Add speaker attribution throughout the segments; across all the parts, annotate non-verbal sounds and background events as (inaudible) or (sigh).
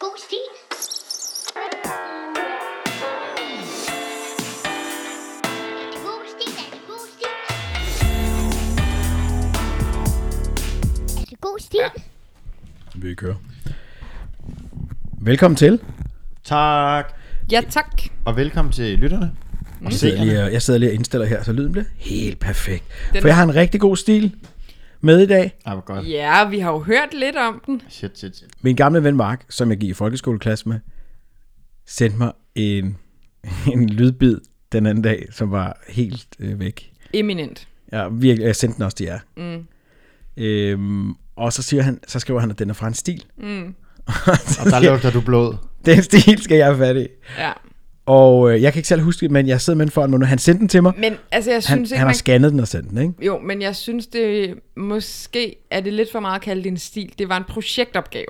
Speaker 1: Boosty. God stil. Ja.
Speaker 2: Vi kører. Velkommen til.
Speaker 3: Tak.
Speaker 4: Ja, tak.
Speaker 3: Og velkommen til lytterne. Og
Speaker 2: Jeg sidder,
Speaker 3: seerne.
Speaker 2: lige og, jeg sidder lige og indstiller her, så lyden bliver helt perfekt.
Speaker 4: Den-
Speaker 2: For jeg har en rigtig god stil med i dag.
Speaker 3: Ej, hvor godt.
Speaker 4: Ja, vi har jo hørt lidt om den.
Speaker 3: Shit, shit, shit.
Speaker 2: Min gamle ven Mark, som jeg gik i folkeskoleklasse med, sendte mig en, (laughs) en lydbid den anden dag, som var helt øh, væk.
Speaker 4: Eminent.
Speaker 2: Ja, virkelig, jeg sendte den også til jer. Mm. Øhm, og så, siger han, så skriver han, at den er fra en stil. Mm. (laughs)
Speaker 3: Og der lugter du blod.
Speaker 2: Den stil skal jeg have fat i.
Speaker 4: Ja.
Speaker 2: Og øh, jeg kan ikke selv huske det, men jeg sidder med den foran mig nu. Han sendte den til mig.
Speaker 4: Men altså, jeg
Speaker 2: Han,
Speaker 4: synes ikke,
Speaker 2: han har
Speaker 4: man...
Speaker 2: scannet den og sendt den, ikke?
Speaker 4: Jo, men jeg synes, det måske er det lidt for meget at kalde det en stil. Det var en projektopgave,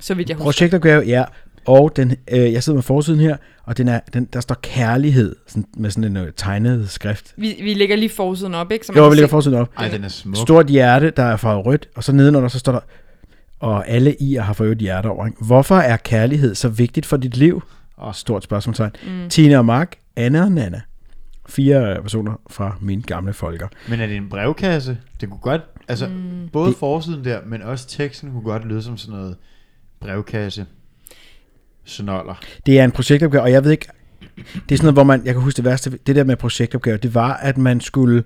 Speaker 4: så vidt jeg husker.
Speaker 2: Projektopgave, ja. Og den, øh, jeg sidder med forsiden her, og den er, den, der står kærlighed sådan, med sådan en øh, tegnet skrift.
Speaker 4: Vi, vi lægger lige forsiden op, ikke? Så man
Speaker 2: Jo,
Speaker 4: kan
Speaker 2: vi lægger
Speaker 4: se-
Speaker 2: forsiden op.
Speaker 3: Ej, den er smuk. Stor.
Speaker 2: Stort hjerte, der er farvet rødt, og så nedenunder, så står der, og alle i har fået et hjerte over. Ikke? Hvorfor er kærlighed så vigtigt for dit liv? Og stort spørgsmålstegn. Mm. Tina og Mark, Anna og Nana. Fire øh, personer fra min gamle folker.
Speaker 3: Men er det en brevkasse? Det kunne godt... Altså, mm. både det... forsiden der, men også teksten kunne godt lyde som sådan noget brevkasse. Snoller.
Speaker 2: Det er en projektopgave, og jeg ved ikke, det er sådan noget, hvor man, jeg kan huske det værste, ved- det der med projektopgaver, det var, at man skulle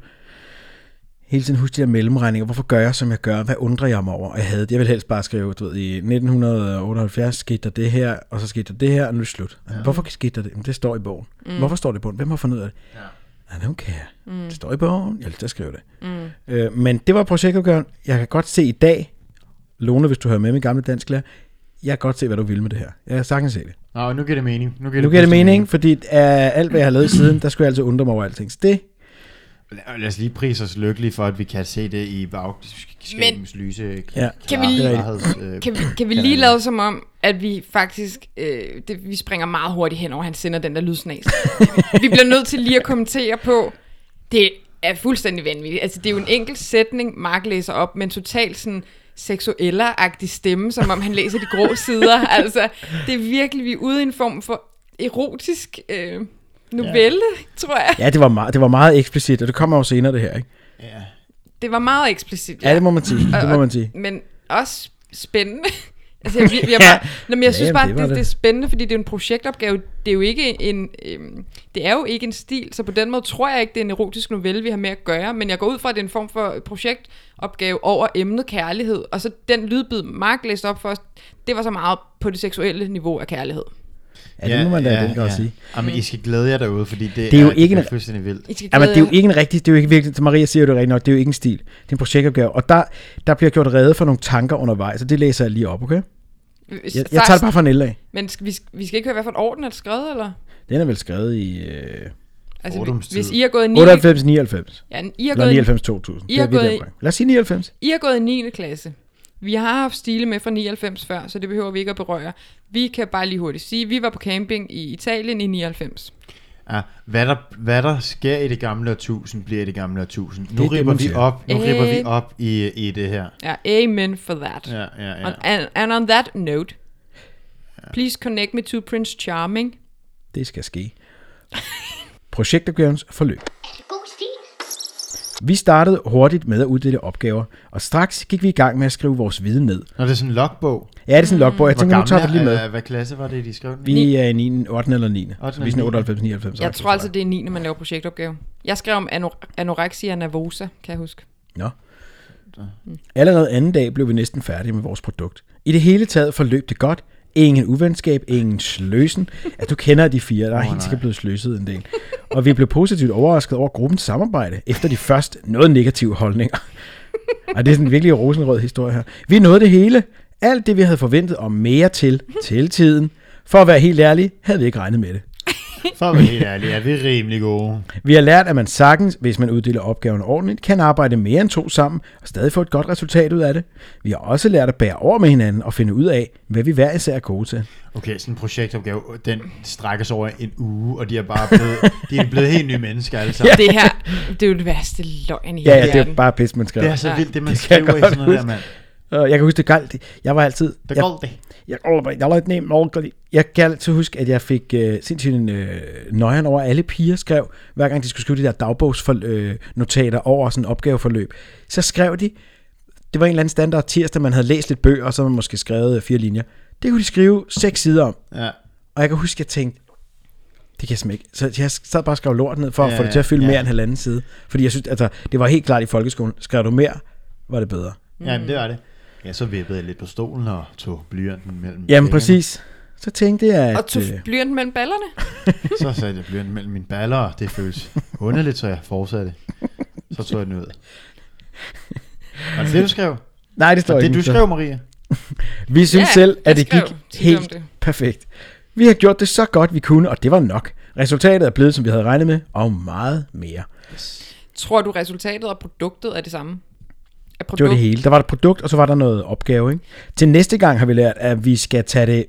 Speaker 2: hele tiden huske de der mellemregninger. Hvorfor gør jeg, som jeg gør? Hvad undrer jeg mig over? Og jeg havde det. Jeg ville helst bare skrive, du ved, i 1978 skete der det her, og så skete der det her, og nu er det slut. Ja. Hvorfor skete der det? Jamen, det står i bogen. Mm. Hvorfor står det i bogen? Hvem har fundet ud af det? Ja. I don't care. Mm. Det står i bogen. Jeg har lyst til at skrive det. Mm. Øh, men det var projektopgaven. Jeg kan godt se i dag, Lone, hvis du hører med min gamle dansklærer, jeg kan godt se, hvad du vil med det her. Jeg kan sagtens se det.
Speaker 3: Nå, og nu giver det mening. Nu giver
Speaker 2: Nu
Speaker 3: det,
Speaker 2: giver det
Speaker 3: pludselig
Speaker 2: mening, fordi af alt, hvad jeg har lavet siden, der skulle jeg altså undre mig over alting. Så det,
Speaker 3: Lad- Lad os lige prise os lykkelige for, at vi kan se det i bagskabens lyse.
Speaker 2: ja.
Speaker 4: Kan vi lige- Kan vi, kan vi lige
Speaker 3: øh, Kalender.
Speaker 4: lade som om, at vi faktisk, øh, det, vi springer meget hurtigt hen over, han sender den der lydsnas. vi bliver nødt til lige at kommentere på, det er fuldstændig vanvittigt. Altså, det er jo en enkelt sætning, Mark læser op, men totalt sådan seksuelleragtig stemme, som om han læser de grå sider. altså, det er virkelig, vi er ude i en form for erotisk øh, novelle, tror jeg.
Speaker 2: ja, det var, meget, det var meget eksplicit, og det kommer jo senere det her, ikke?
Speaker 3: Ja.
Speaker 4: Det var meget eksplicit.
Speaker 2: Ja, det må man sige. Det må man sige.
Speaker 4: men også spændende. (laughs) altså, jeg, (laughs) jeg, jeg,
Speaker 2: Ja.
Speaker 4: bare, Nå, men jeg
Speaker 2: Ja,
Speaker 4: synes
Speaker 2: jamen,
Speaker 4: bare,
Speaker 2: det
Speaker 4: det,
Speaker 2: var
Speaker 4: det.
Speaker 2: det.
Speaker 4: det er spændende, fordi det er jo en projektopgave. Det er jo ikke en, øhm, det er jo ikke en stil, så på den måde tror jeg ikke, det er en erotisk novelle, vi har med at gøre, men jeg går ud fra, at det er en form for projektopgave over emnet kærlighed, og så den lydbid, Mark læste op for os, det var så meget på det seksuelle niveau af kærlighed.
Speaker 2: Ja, det må man da ja, godt sige.
Speaker 3: Jamen, I skal glæde jer derude, fordi det,
Speaker 2: Det er jo ikke
Speaker 3: det
Speaker 2: en-
Speaker 3: er fuldstændig vildt.
Speaker 4: I skal
Speaker 2: Jamen,
Speaker 4: glæde
Speaker 2: det er jo
Speaker 4: jer.
Speaker 2: ikke en rigtig, det er jo ikke virkelig, som Maria siger jo det rigtigt nok, det er jo ikke en stil. Det er en projektopgave, og der, der bliver gjort redde for nogle tanker undervejs, og det læser jeg lige op, okay? Jeg, jeg tager det bare fra en elde af.
Speaker 4: Øh, Men skal, vi, skal- vi skal ikke høre, hvad for et år den er skrevet, eller?
Speaker 2: Den er vel skrevet i øh,
Speaker 4: Altså,
Speaker 3: Fordomstid.
Speaker 4: hvis I har gået i 9.
Speaker 2: 98-99,
Speaker 4: Ja, I
Speaker 2: eller
Speaker 4: har gået i
Speaker 2: 99-2000.
Speaker 4: I har gået i-
Speaker 2: Lad os sige 99.
Speaker 4: I har gået i 9. klasse. Vi har haft stile med fra 99 før, så det behøver vi ikke at berøre. Vi kan bare lige hurtigt sige, at vi var på camping i Italien i 99.
Speaker 3: Ja, hvad, der, hvad der sker i det gamle årtusind, bliver i det gamle årtusind. Nu
Speaker 2: det,
Speaker 3: det, ripper
Speaker 2: man
Speaker 3: vi
Speaker 2: siger.
Speaker 3: op, nu
Speaker 4: Øh.
Speaker 3: ripper vi op i, i det her.
Speaker 4: Ja, amen for that.
Speaker 3: Ja, ja, ja.
Speaker 4: On, and, and on that note, please connect me to Prince Charming.
Speaker 2: Det skal
Speaker 4: (laughs)
Speaker 2: ske. Projektopgavens forløb.
Speaker 1: God stil.
Speaker 2: Vi startede hurtigt med at uddele opgaver, og straks gik vi i gang med at skrive vores viden ned.
Speaker 3: Når det er sådan en logbog.
Speaker 2: Ja, det er sådan
Speaker 4: Mm.
Speaker 2: en logbog. Jeg
Speaker 3: Hvor
Speaker 2: tænker, nu tager vi det lige
Speaker 3: gammel
Speaker 2: med.
Speaker 3: er, øh, hvad klasse var det, de skrev den? i?
Speaker 2: Vi er i 9, 8. eller 9. Så vi er
Speaker 3: 8.,
Speaker 2: sådan 98, 99.
Speaker 4: Jeg tror altså, det er 9, når man laver projektopgave. Jeg skrev om anor- anorexia nervosa, kan jeg huske.
Speaker 2: Nå. Allerede anden dag blev vi næsten færdige med vores produkt. I det hele taget forløb det godt. Ingen uvenskab, ingen sløsen. Altså, du kender de fire, der er helt sikkert blevet sløset en del. Og vi blev positivt overrasket over gruppens samarbejde, efter de først noget negative holdninger. Og det er sådan en virkelig rosenrød historie her. Vi nåede det hele. Alt det, vi havde forventet og mere til, til tiden. For at være helt ærlig, havde vi ikke regnet med det.
Speaker 3: For at være helt ærlig, er vi rimelig gode.
Speaker 2: Vi har lært, at man sagtens, hvis man uddeler opgaven ordentligt, kan arbejde mere end to sammen og stadig få et godt resultat ud af det. Vi har også lært at bære over med hinanden og finde ud af, hvad vi hver især er gode til.
Speaker 3: Okay, sådan en projektopgave, den strækker sig over en uge, og de er bare blevet, de er blevet helt nye mennesker alle sammen. Ja.
Speaker 2: (laughs)
Speaker 4: Det her, det er jo det værste løgn i
Speaker 2: Ja,
Speaker 4: hele
Speaker 2: ja det er
Speaker 4: verden.
Speaker 2: bare pis, man skriver.
Speaker 3: Det er så vildt, det man
Speaker 2: Det kan jeg
Speaker 3: skriver i sådan
Speaker 2: godt
Speaker 3: noget der,
Speaker 2: huske.
Speaker 3: mand.
Speaker 2: Og jeg kan huske, det galt. Jeg var altid...
Speaker 3: Det
Speaker 2: jeg,
Speaker 3: går det.
Speaker 2: jeg, jeg, jeg, nem, jeg kan altid huske, at jeg fik øh, sindssygt en øh, nøjeren over, at alle piger skrev, hver gang de skulle skrive de der dagbogsnotater øh, notater over sådan en opgaveforløb, så skrev de, det var en eller anden standard tirsdag, man havde læst lidt bøger, og så havde man måske skrevet øh, fire linjer. Det kunne de skrive seks sider om.
Speaker 3: Ja.
Speaker 2: Og jeg kan huske, at jeg tænkte, det kan jeg simpelthen ikke. Så jeg sad bare og skrev lort ned for at
Speaker 3: Ja,
Speaker 2: få det til at fylde
Speaker 3: ja.
Speaker 2: mere end halvanden side. Fordi jeg synes, altså, det var helt klart i folkeskolen, skrev du mere, var det bedre.
Speaker 3: Jamen, det var det. Ja, så vippede jeg lidt på stolen og tog blyanten mellem
Speaker 2: Jamen
Speaker 3: fingrene.
Speaker 2: præcis. Så tænkte jeg, at...
Speaker 4: Og tog
Speaker 2: øh,
Speaker 4: blyant mellem ballerne.
Speaker 3: Så satte jeg blyanten mellem mine baller, og det føles underligt, så jeg fortsatte. Så tog jeg den ud. Var det det, du skrev?
Speaker 2: nej, det
Speaker 3: Var
Speaker 2: står
Speaker 3: det
Speaker 2: ikke.
Speaker 3: du
Speaker 2: så-
Speaker 3: skrev, Maria?
Speaker 2: Vi synes
Speaker 4: Ja,
Speaker 2: selv,
Speaker 4: jeg
Speaker 2: at det
Speaker 4: skrev
Speaker 2: gik
Speaker 4: tit om
Speaker 2: helt
Speaker 4: det.
Speaker 2: perfekt. Vi har gjort det så godt, vi kunne, og det var nok. Resultatet er blevet, som vi havde regnet med, og meget mere.
Speaker 4: Tror du, resultatet og produktet er det samme? Er produkt,
Speaker 2: Det var det hele. Der var et produkt, og så var der noget opgave. Ikke? Til næste gang har vi lært, at vi skal tage det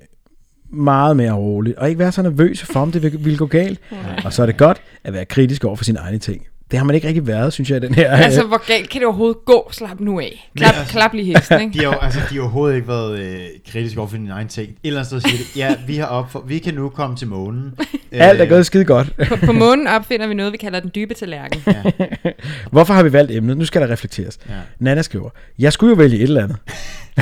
Speaker 2: meget mere roligt, og ikke være så nervøs for, om det vil ville gå galt. Og så er det godt at være kritisk over for sine egne ting. Det har man ikke rigtig været, synes jeg, i den her.
Speaker 4: Altså, hvor galt kan det overhovedet gå? Slap nu af. Klap,
Speaker 3: altså-
Speaker 4: klap lige
Speaker 2: (laughs)
Speaker 4: hesten, ikke?
Speaker 3: De har, jo- altså, de har overhovedet ikke været øh, kritiske over for dine egne ting. Et eller andet sted siger de, ja, vi, har op for, vi kan nu komme til månen. Øh,
Speaker 2: (laughs) (laughs) Alt er gået skide godt.
Speaker 4: På, på månen opfinder vi noget, vi kalder den dybe tallerken.
Speaker 2: Hvorfor har vi valgt emnet? Nu skal der reflekteres. Ja.
Speaker 3: Ja.
Speaker 2: Nana skriver, jeg skulle jo vælge et eller andet.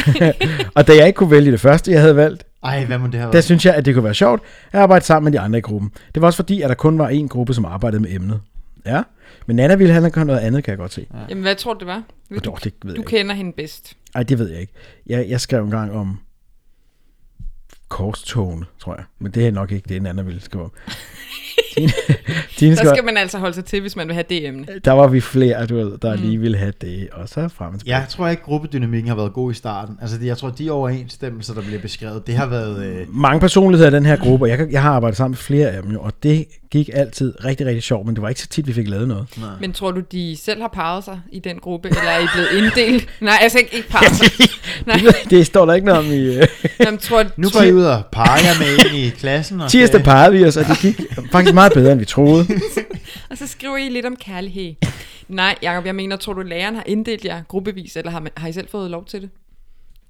Speaker 2: (laughs) og da jeg ikke kunne vælge det første, jeg havde valgt,
Speaker 3: Ej, hvad må det have
Speaker 2: der
Speaker 3: været?
Speaker 2: synes jeg, at det kunne være sjovt at arbejde sammen med de andre i gruppen. Det var også fordi, at der kun var én gruppe, som arbejdede med emnet. Ja, men Nana ville have gøre noget andet, kan jeg godt se. Ja.
Speaker 4: Jamen, hvad tror du, det var? Du,
Speaker 2: Dog, det ved
Speaker 4: du
Speaker 2: jeg ikke.
Speaker 4: kender hende bedst.
Speaker 2: Ej, det ved jeg ikke. Jeg, jeg skrev engang om korstogene, tror jeg. Men det er nok ikke det, Nana ville
Speaker 4: (laughs)
Speaker 2: skrive om. Tine, Tine
Speaker 4: Der
Speaker 2: skriver,
Speaker 4: skal man altså holde sig til, hvis man Mm. vil have det emne.
Speaker 2: der var vi flere, du ved, der lige ville have det, og så frem og tilbage.
Speaker 3: Jeg tror ikke, gruppedynamikken har været god i starten. Altså, det- jeg tror, de overensstemmelser, der bliver beskrevet, det har været... Øh,
Speaker 2: mange personligheder i den her gruppe, og jeg, kan- jeg har arbejdet sammen med flere af dem jo, og det gik altid rigtig, rigtig sjovt, men det var ikke så tit, vi fik lavet noget.
Speaker 4: Men tror du, de selv har parret sig i den gruppe, eller er I blevet
Speaker 2: (laughs)
Speaker 4: inddelt? Nej, altså ikke, ikke parret sig. (laughs) Nej.
Speaker 2: det, det står der ikke noget om i... øh,
Speaker 4: Jamen, tror,
Speaker 3: nu går I ud og parer jer med en i klassen. Og
Speaker 2: Tirsdag pegede vi os, og det gik (laughs) faktisk meget bedre, end vi troede.
Speaker 4: (laughs) Og så skriver I lidt om kærlighed. Nej, Jacob, jeg mener, tror du, læreren har inddelt jer gruppevis, eller har, man, har I selv fået lov til det?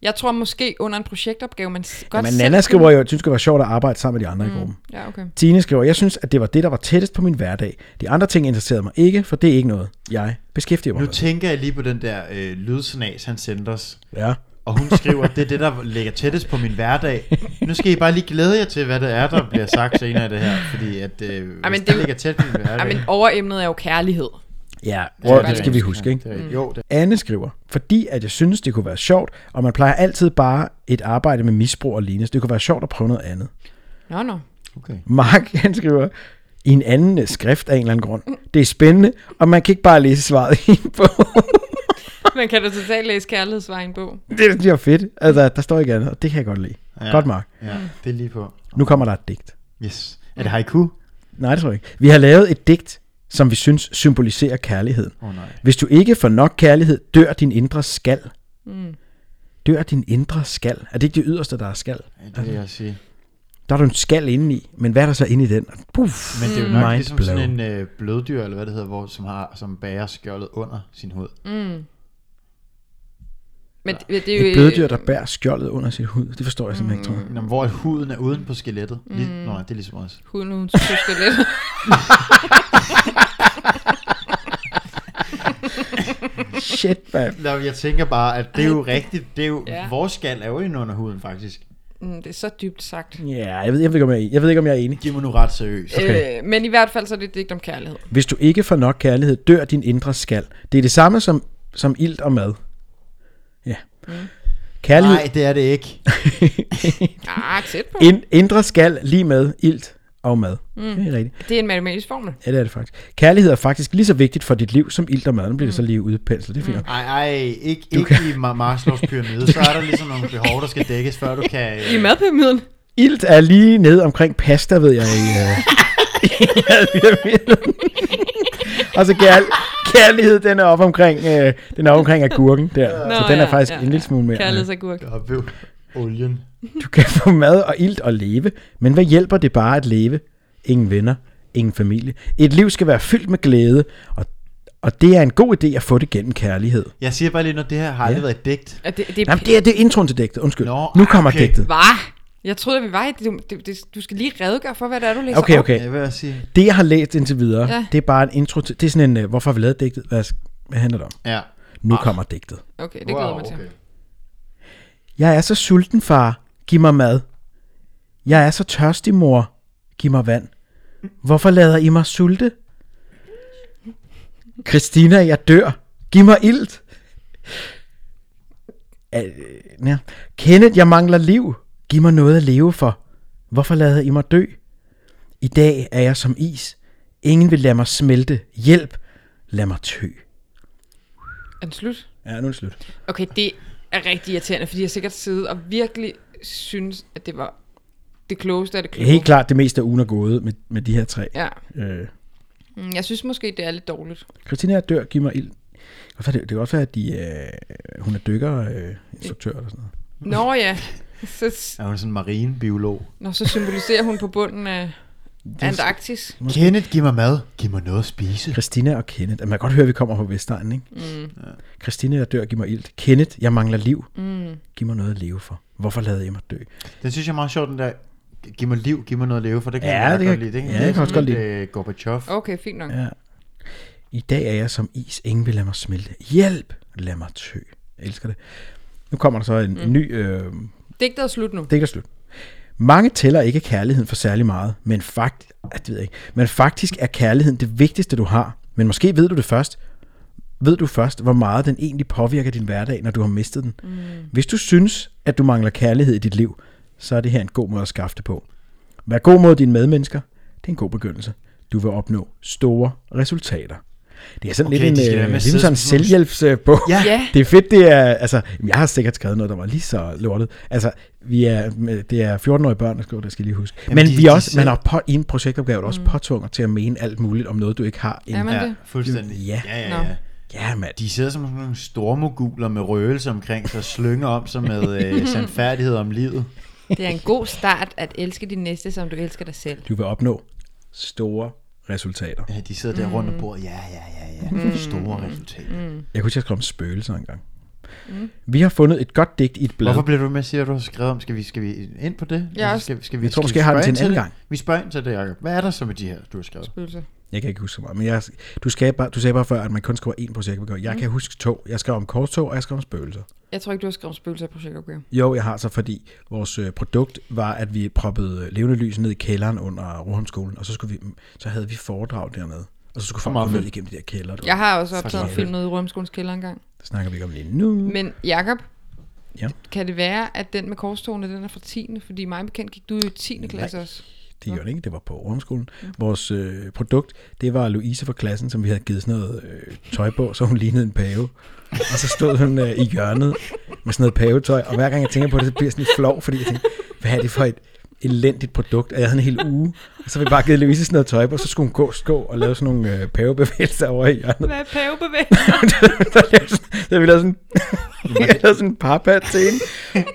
Speaker 4: Jeg tror måske under en projektopgave, man s- godt
Speaker 2: Men
Speaker 4: selv Mm.
Speaker 2: Nana
Speaker 4: kunne-
Speaker 2: skriver jo, at synes, det var sjovt at arbejde sammen med de andre i gruppen.
Speaker 4: Ja, okay.
Speaker 2: Tine skriver, jeg synes, at det var det, der var tættest på min hverdag. De andre ting interesserede mig ikke, for det er ikke noget, jeg beskæftiger mig
Speaker 3: Nu
Speaker 2: med.
Speaker 3: tænker jeg lige på den der øh, lydsnas, han sendte os.
Speaker 2: Ja.
Speaker 3: Og hun skriver, det er det, der ligger tættest på min hverdag. Nu skal I bare lige glæde jer til, hvad det er, der bliver sagt senere i det her. Fordi at, øh,
Speaker 4: Ej,
Speaker 3: Ej,
Speaker 4: men
Speaker 3: men
Speaker 4: det
Speaker 3: det, det
Speaker 4: er jo-
Speaker 3: ligger tæt på min hverdag.
Speaker 4: Ja, men overemnet er jo kærlighed.
Speaker 2: Ja,
Speaker 3: er
Speaker 2: prøv, det
Speaker 3: rigtigt.
Speaker 2: skal vi huske,
Speaker 3: Ja,
Speaker 2: ikke?
Speaker 3: det er rigtigt.
Speaker 4: Mm.
Speaker 3: Jo, det
Speaker 2: Anne skriver, fordi at jeg synes, det kunne være sjovt, og man plejer altid bare et arbejde med misbrug og lignende, så det kunne være sjovt at prøve noget andet.
Speaker 4: Nå, nå.
Speaker 3: okay.
Speaker 2: Mark, (laughs) han skriver, i en anden øh, skrift af en eller anden grund. Det er spændende, og man kan ikke bare læse svaret i en bog.
Speaker 4: (laughs)
Speaker 2: (laughs)
Speaker 4: Man kan da totalt læse kærlighedsvejen på.
Speaker 2: Det synes jeg er fedt. Altså, der står ikke andet, og det kan jeg godt lide. Ja.
Speaker 3: Ja.
Speaker 2: Godt, Mark.
Speaker 3: Ja, det er lige på.
Speaker 2: Nu kommer der et digt.
Speaker 3: Yes. Er det haiku?
Speaker 2: Nej, det tror jeg ikke. Vi har lavet et digt, som vi synes symboliserer kærligheden.
Speaker 3: Åh oh, nej.
Speaker 2: Hvis du ikke får nok kærlighed, dør din indre skal. Mm. Dør din indre skal. Er det ikke det yderste, der er skal?
Speaker 3: Ja, Det vil jeg sige.
Speaker 2: Der er du en skal indeni, men hvad er der så inde i den? Puff,
Speaker 3: Men det er jo nok
Speaker 2: mind
Speaker 3: ligesom
Speaker 2: blown.
Speaker 3: sådan en øh, bløddyr, eller hvad det hedder, hvor, som, har, som bærer skjoldet under sin hud.
Speaker 4: Mm. Men det, det er jo... øh,
Speaker 2: Et bløddyr, der bærer skjoldet under sit hud. Det forstår jeg simpelthen ikke, tror jeg.
Speaker 3: Nå, men hvor at huden er uden på skelettet. Mm. Lige, nå, nej, det er ligesom os.
Speaker 4: Hun, hun tusker lidt.
Speaker 2: (laughs) Shit, man.
Speaker 3: Nå, jeg tænker bare, at det er jo rigtigt. Det er jo,
Speaker 4: Ja.
Speaker 3: ja. Vores skal er jo inde under huden, faktisk.
Speaker 4: Mm, det er så dybt sagt.
Speaker 2: Ja, jeg ved, jeg, ved ikke, om jeg, er- jeg ved ikke, om jeg er enig.
Speaker 3: Giv mig nu ret seriøst.
Speaker 2: Okay.
Speaker 4: Øh, men i hvert fald så er det et digt om kærlighed.
Speaker 2: Hvis du ikke får nok kærlighed, dør din indre skal. Det er det samme som, som ilt og mad. Ja. Mm. Kærlighed,
Speaker 3: Nej, det er det ikke.
Speaker 4: Ah, tæt på.
Speaker 2: ind, indre skal lige med ilt og mad. Mm. Det er rigtigt.
Speaker 4: Det er en matematisk formel.
Speaker 2: Ja, det er det faktisk. Kærlighed er faktisk lige så vigtigt for dit liv som ilt og mad. Nu bliver det så lige udpenslet. Det er fint. nok.
Speaker 3: Ej, ej, ikke, ikke i Ma- Maslows pyramide. Så er der ligesom nogle behov, der skal
Speaker 2: (laughs)
Speaker 3: dækkes, før du kan... øh,
Speaker 4: I madpyramiden.
Speaker 2: Ilt er lige nede omkring pasta, ved jeg. I, øh, i madpyramiden. og så kærl- kærlighed, den er op omkring, øh, den er op omkring agurken der. Nå, så den er
Speaker 4: ja,
Speaker 2: faktisk
Speaker 4: ja,
Speaker 2: ja, en lille smule mere.
Speaker 4: Kærlighedsagurk.
Speaker 3: Og ved olien.
Speaker 2: Du kan få mad og ilt og leve, men hvad hjælper det bare at leve? Ingen venner, ingen familie. Et liv skal være fyldt med glæde, og, og Og det er en god idé at få det gennem kærlighed.
Speaker 3: Jeg siger bare lige, når det her har aldrig
Speaker 2: Ja.
Speaker 3: ja. været et digt.
Speaker 4: Og det, det er
Speaker 2: Jamen, det er, det er introen til digtet. Undskyld.
Speaker 3: Nå,
Speaker 2: nu kommer
Speaker 3: okay.
Speaker 2: digtet.
Speaker 4: Hva? Jeg troede, at vi var i det. Du, det, du skal lige redegøre for, hvad det er, du læser
Speaker 2: Okay,
Speaker 4: op.
Speaker 2: okay.
Speaker 3: Jeg vil også sige.
Speaker 2: Det, jeg har læst indtil videre, ja.
Speaker 4: Ja.
Speaker 2: det er bare en intro til... Det er sådan en, øh, hvorfor har vi lavet digtet? Hvad, hvad handler det om?
Speaker 3: Ja.
Speaker 2: Nu kommer digtet.
Speaker 4: Okay, det glæder jeg mig til.
Speaker 2: Jeg er så sulten, far. Giv mig mad. Jeg er så tørstig, mor. Giv mig vand. Hvorfor lader I mig sulte? Christina, jeg dør. Giv mig ilt. Al- ja. Kenneth, jeg mangler liv. Giv mig noget at leve for. Hvorfor lader I mig dø? I dag er jeg som is. Ingen vil lade mig smelte. Hjælp. Lad mig tø.
Speaker 4: Er den slut?
Speaker 2: Ja, nu er det slut.
Speaker 4: Okay, det er rigtig irriterende, fordi jeg sikkert siddet og virkelig synes, at det var det klogeste af det kloge.
Speaker 2: Helt klart det meste af ugen er gået med, med de her tre.
Speaker 4: Ja.
Speaker 2: Øh.
Speaker 4: Mm, Jeg synes måske, det er lidt dårligt.
Speaker 2: Christina jeg dør, giv mig ild. Det kan godt være, Det det kan godt være, at de, øh, hun er dykkerinstruktør øh, instruktør eller sådan noget.
Speaker 4: Nå ja, så,
Speaker 3: Er hun sådan en marinebiolog?
Speaker 4: nå, så symboliserer hun på bunden af Antarktis.
Speaker 3: Kenneth, giv mig mad. Giv mig noget at spise.
Speaker 2: Christina og Kenneth. Man kan godt høre, at vi kommer fra Vestegnen, ikke? Mm. Christina, jeg dør, giv mig ild. Kenneth, jeg mangler liv. Mm. Giv mig noget at leve for. Hvorfor lader jeg mig dø?
Speaker 3: Den synes jeg er meget sjov, den der, giv mig liv, giv mig noget at leve for, det kan
Speaker 2: Ja,
Speaker 3: jeg meget
Speaker 2: det
Speaker 3: godt
Speaker 2: kan-
Speaker 3: lide. Det
Speaker 2: ja, det kan jeg også godt
Speaker 3: lide. Øh, Gorbachev. Oh.
Speaker 4: Okay, fint nok.
Speaker 2: Ja. I dag er jeg som is. Ingen vil lade mig smelte. Hjælp! Lad mig tø. Jeg elsker det. Nu kommer der så en, mm. en ny... Øh,
Speaker 4: Digtet er slut nu.
Speaker 2: Det er slut. Mange tæller ikke kærligheden for særlig meget, men, fakt, ah, det ved jeg ikke, men faktisk er kærligheden det vigtigste, du har. Men måske ved du det først. Ved du først, hvor meget den egentlig påvirker din hverdag, når du har mistet den. Mm. Hvis du synes, at du mangler kærlighed i dit liv, så er det her en god måde at skaffe det på. Vær god mod dine medmennesker. Det er en god begyndelse. Du vil opnå store resultater. Det er sådan
Speaker 3: Okay,
Speaker 2: lidt en,
Speaker 3: de skal
Speaker 2: øh,
Speaker 3: være med at
Speaker 2: ligesom
Speaker 3: sidde
Speaker 2: sådan en
Speaker 3: som sådan nogle-
Speaker 2: selvhjælpsbog.
Speaker 3: Ja.
Speaker 4: Ja.
Speaker 2: Det er fedt, det er, altså, jamen, jeg har sikkert skrevet noget, der var lige så lortet. Altså, vi er, det er 14-årige børn, der skriver, det skal jeg lige huske. Jamen,
Speaker 3: Jamen,
Speaker 2: Men
Speaker 3: de-
Speaker 2: vi
Speaker 3: de
Speaker 2: er også,
Speaker 3: selv-
Speaker 2: man er på, i en projektopgave er du også påtvunget til at mene alt muligt om noget, du ikke har. En,
Speaker 4: Er man
Speaker 3: Ja,
Speaker 4: det?
Speaker 3: fuldstændig.
Speaker 2: Ja.
Speaker 3: ja, ja.
Speaker 4: Nå.
Speaker 3: ja.
Speaker 2: ja, mand.
Speaker 3: De sidder som sådan nogle stormoguler med røgelse omkring sig, slynger om sig med
Speaker 2: (laughs)
Speaker 3: øh, sandfærdighed om livet.
Speaker 4: Det er en god start at elske din næste, som du elsker dig selv.
Speaker 2: Du vil opnå store resultater.
Speaker 3: Ja, de sidder der rundt om bordet. Ja, ja, ja, ja. Store resultater.
Speaker 2: Jeg kunne ikke om spøgelser engang. Mm. Vi har fundet et godt digt i et blad.
Speaker 3: Hvorfor bliver du med, siger du har skrevet om? Skal vi, skal vi ind på det?
Speaker 4: Ja,
Speaker 3: Altså,
Speaker 4: også.
Speaker 3: skal, skal vi,
Speaker 2: Jeg tror
Speaker 3: skal vi
Speaker 2: måske, jeg har den
Speaker 3: spørge
Speaker 2: til en
Speaker 3: ind
Speaker 2: anden
Speaker 3: det? Vi spørger ind til det, Jacob. Hvad er der så med de her, du har skrevet?
Speaker 4: Spøgelse.
Speaker 2: Jeg kan ikke huske så meget, men jeg, du, skal bare, du sagde bare før, at man kun skriver én projektopgave. Jeg mm. kan huske to. Jeg skrev om korstog, og jeg skrev om spøgelser.
Speaker 4: Jeg tror ikke, du har skrevet spøgelser i projektopgave.
Speaker 2: Jo, jeg har så, fordi vores øh, produkt var, at vi proppede øh, levende lys ned i kælderen under Rohamskolen, og så, skulle vi, så havde vi foredrag dernede. Og så skulle folk
Speaker 3: meget
Speaker 2: komme ned
Speaker 3: fedt.
Speaker 2: igennem de der kælder. Du.
Speaker 4: Jeg har også optaget
Speaker 2: Fuck,
Speaker 4: en
Speaker 2: hvor
Speaker 4: film nede i Rømskolens kælder engang.
Speaker 2: Det snakker vi ikke om lige nu.
Speaker 4: Men Jakob,
Speaker 2: Ja.
Speaker 4: kan det være, at den med korstogene, den er fra 10. Fordi mig bekendt gik du jo i 10. klasse også.
Speaker 2: Det gjorde det ikke, det var på Rohamskolen. Vores øh, produkt, det var Louise fra klassen, som vi havde givet sådan noget øh, tøj på, så hun lignede en pave. Og så stod hun øh, i hjørnet med sådan noget pavetøj, og hver gang jeg tænker på det, så bliver jeg sådan lidt flov, fordi jeg tænker, hvad er det for et elendigt produkt, og jeg havde en hel uge, og så havde vi bare givet Louise sådan noget tøj på, og så skulle hun gå og stå og lave sådan nogle øh, pavebevægelser over i hjørnet.
Speaker 4: Hvad er pavebevægelser?
Speaker 2: (laughs) der, lavede sådan- der havde vi lavede sådan,
Speaker 3: (laughs)
Speaker 2: (laughs) vi havde lavet sådan en parpat til hende.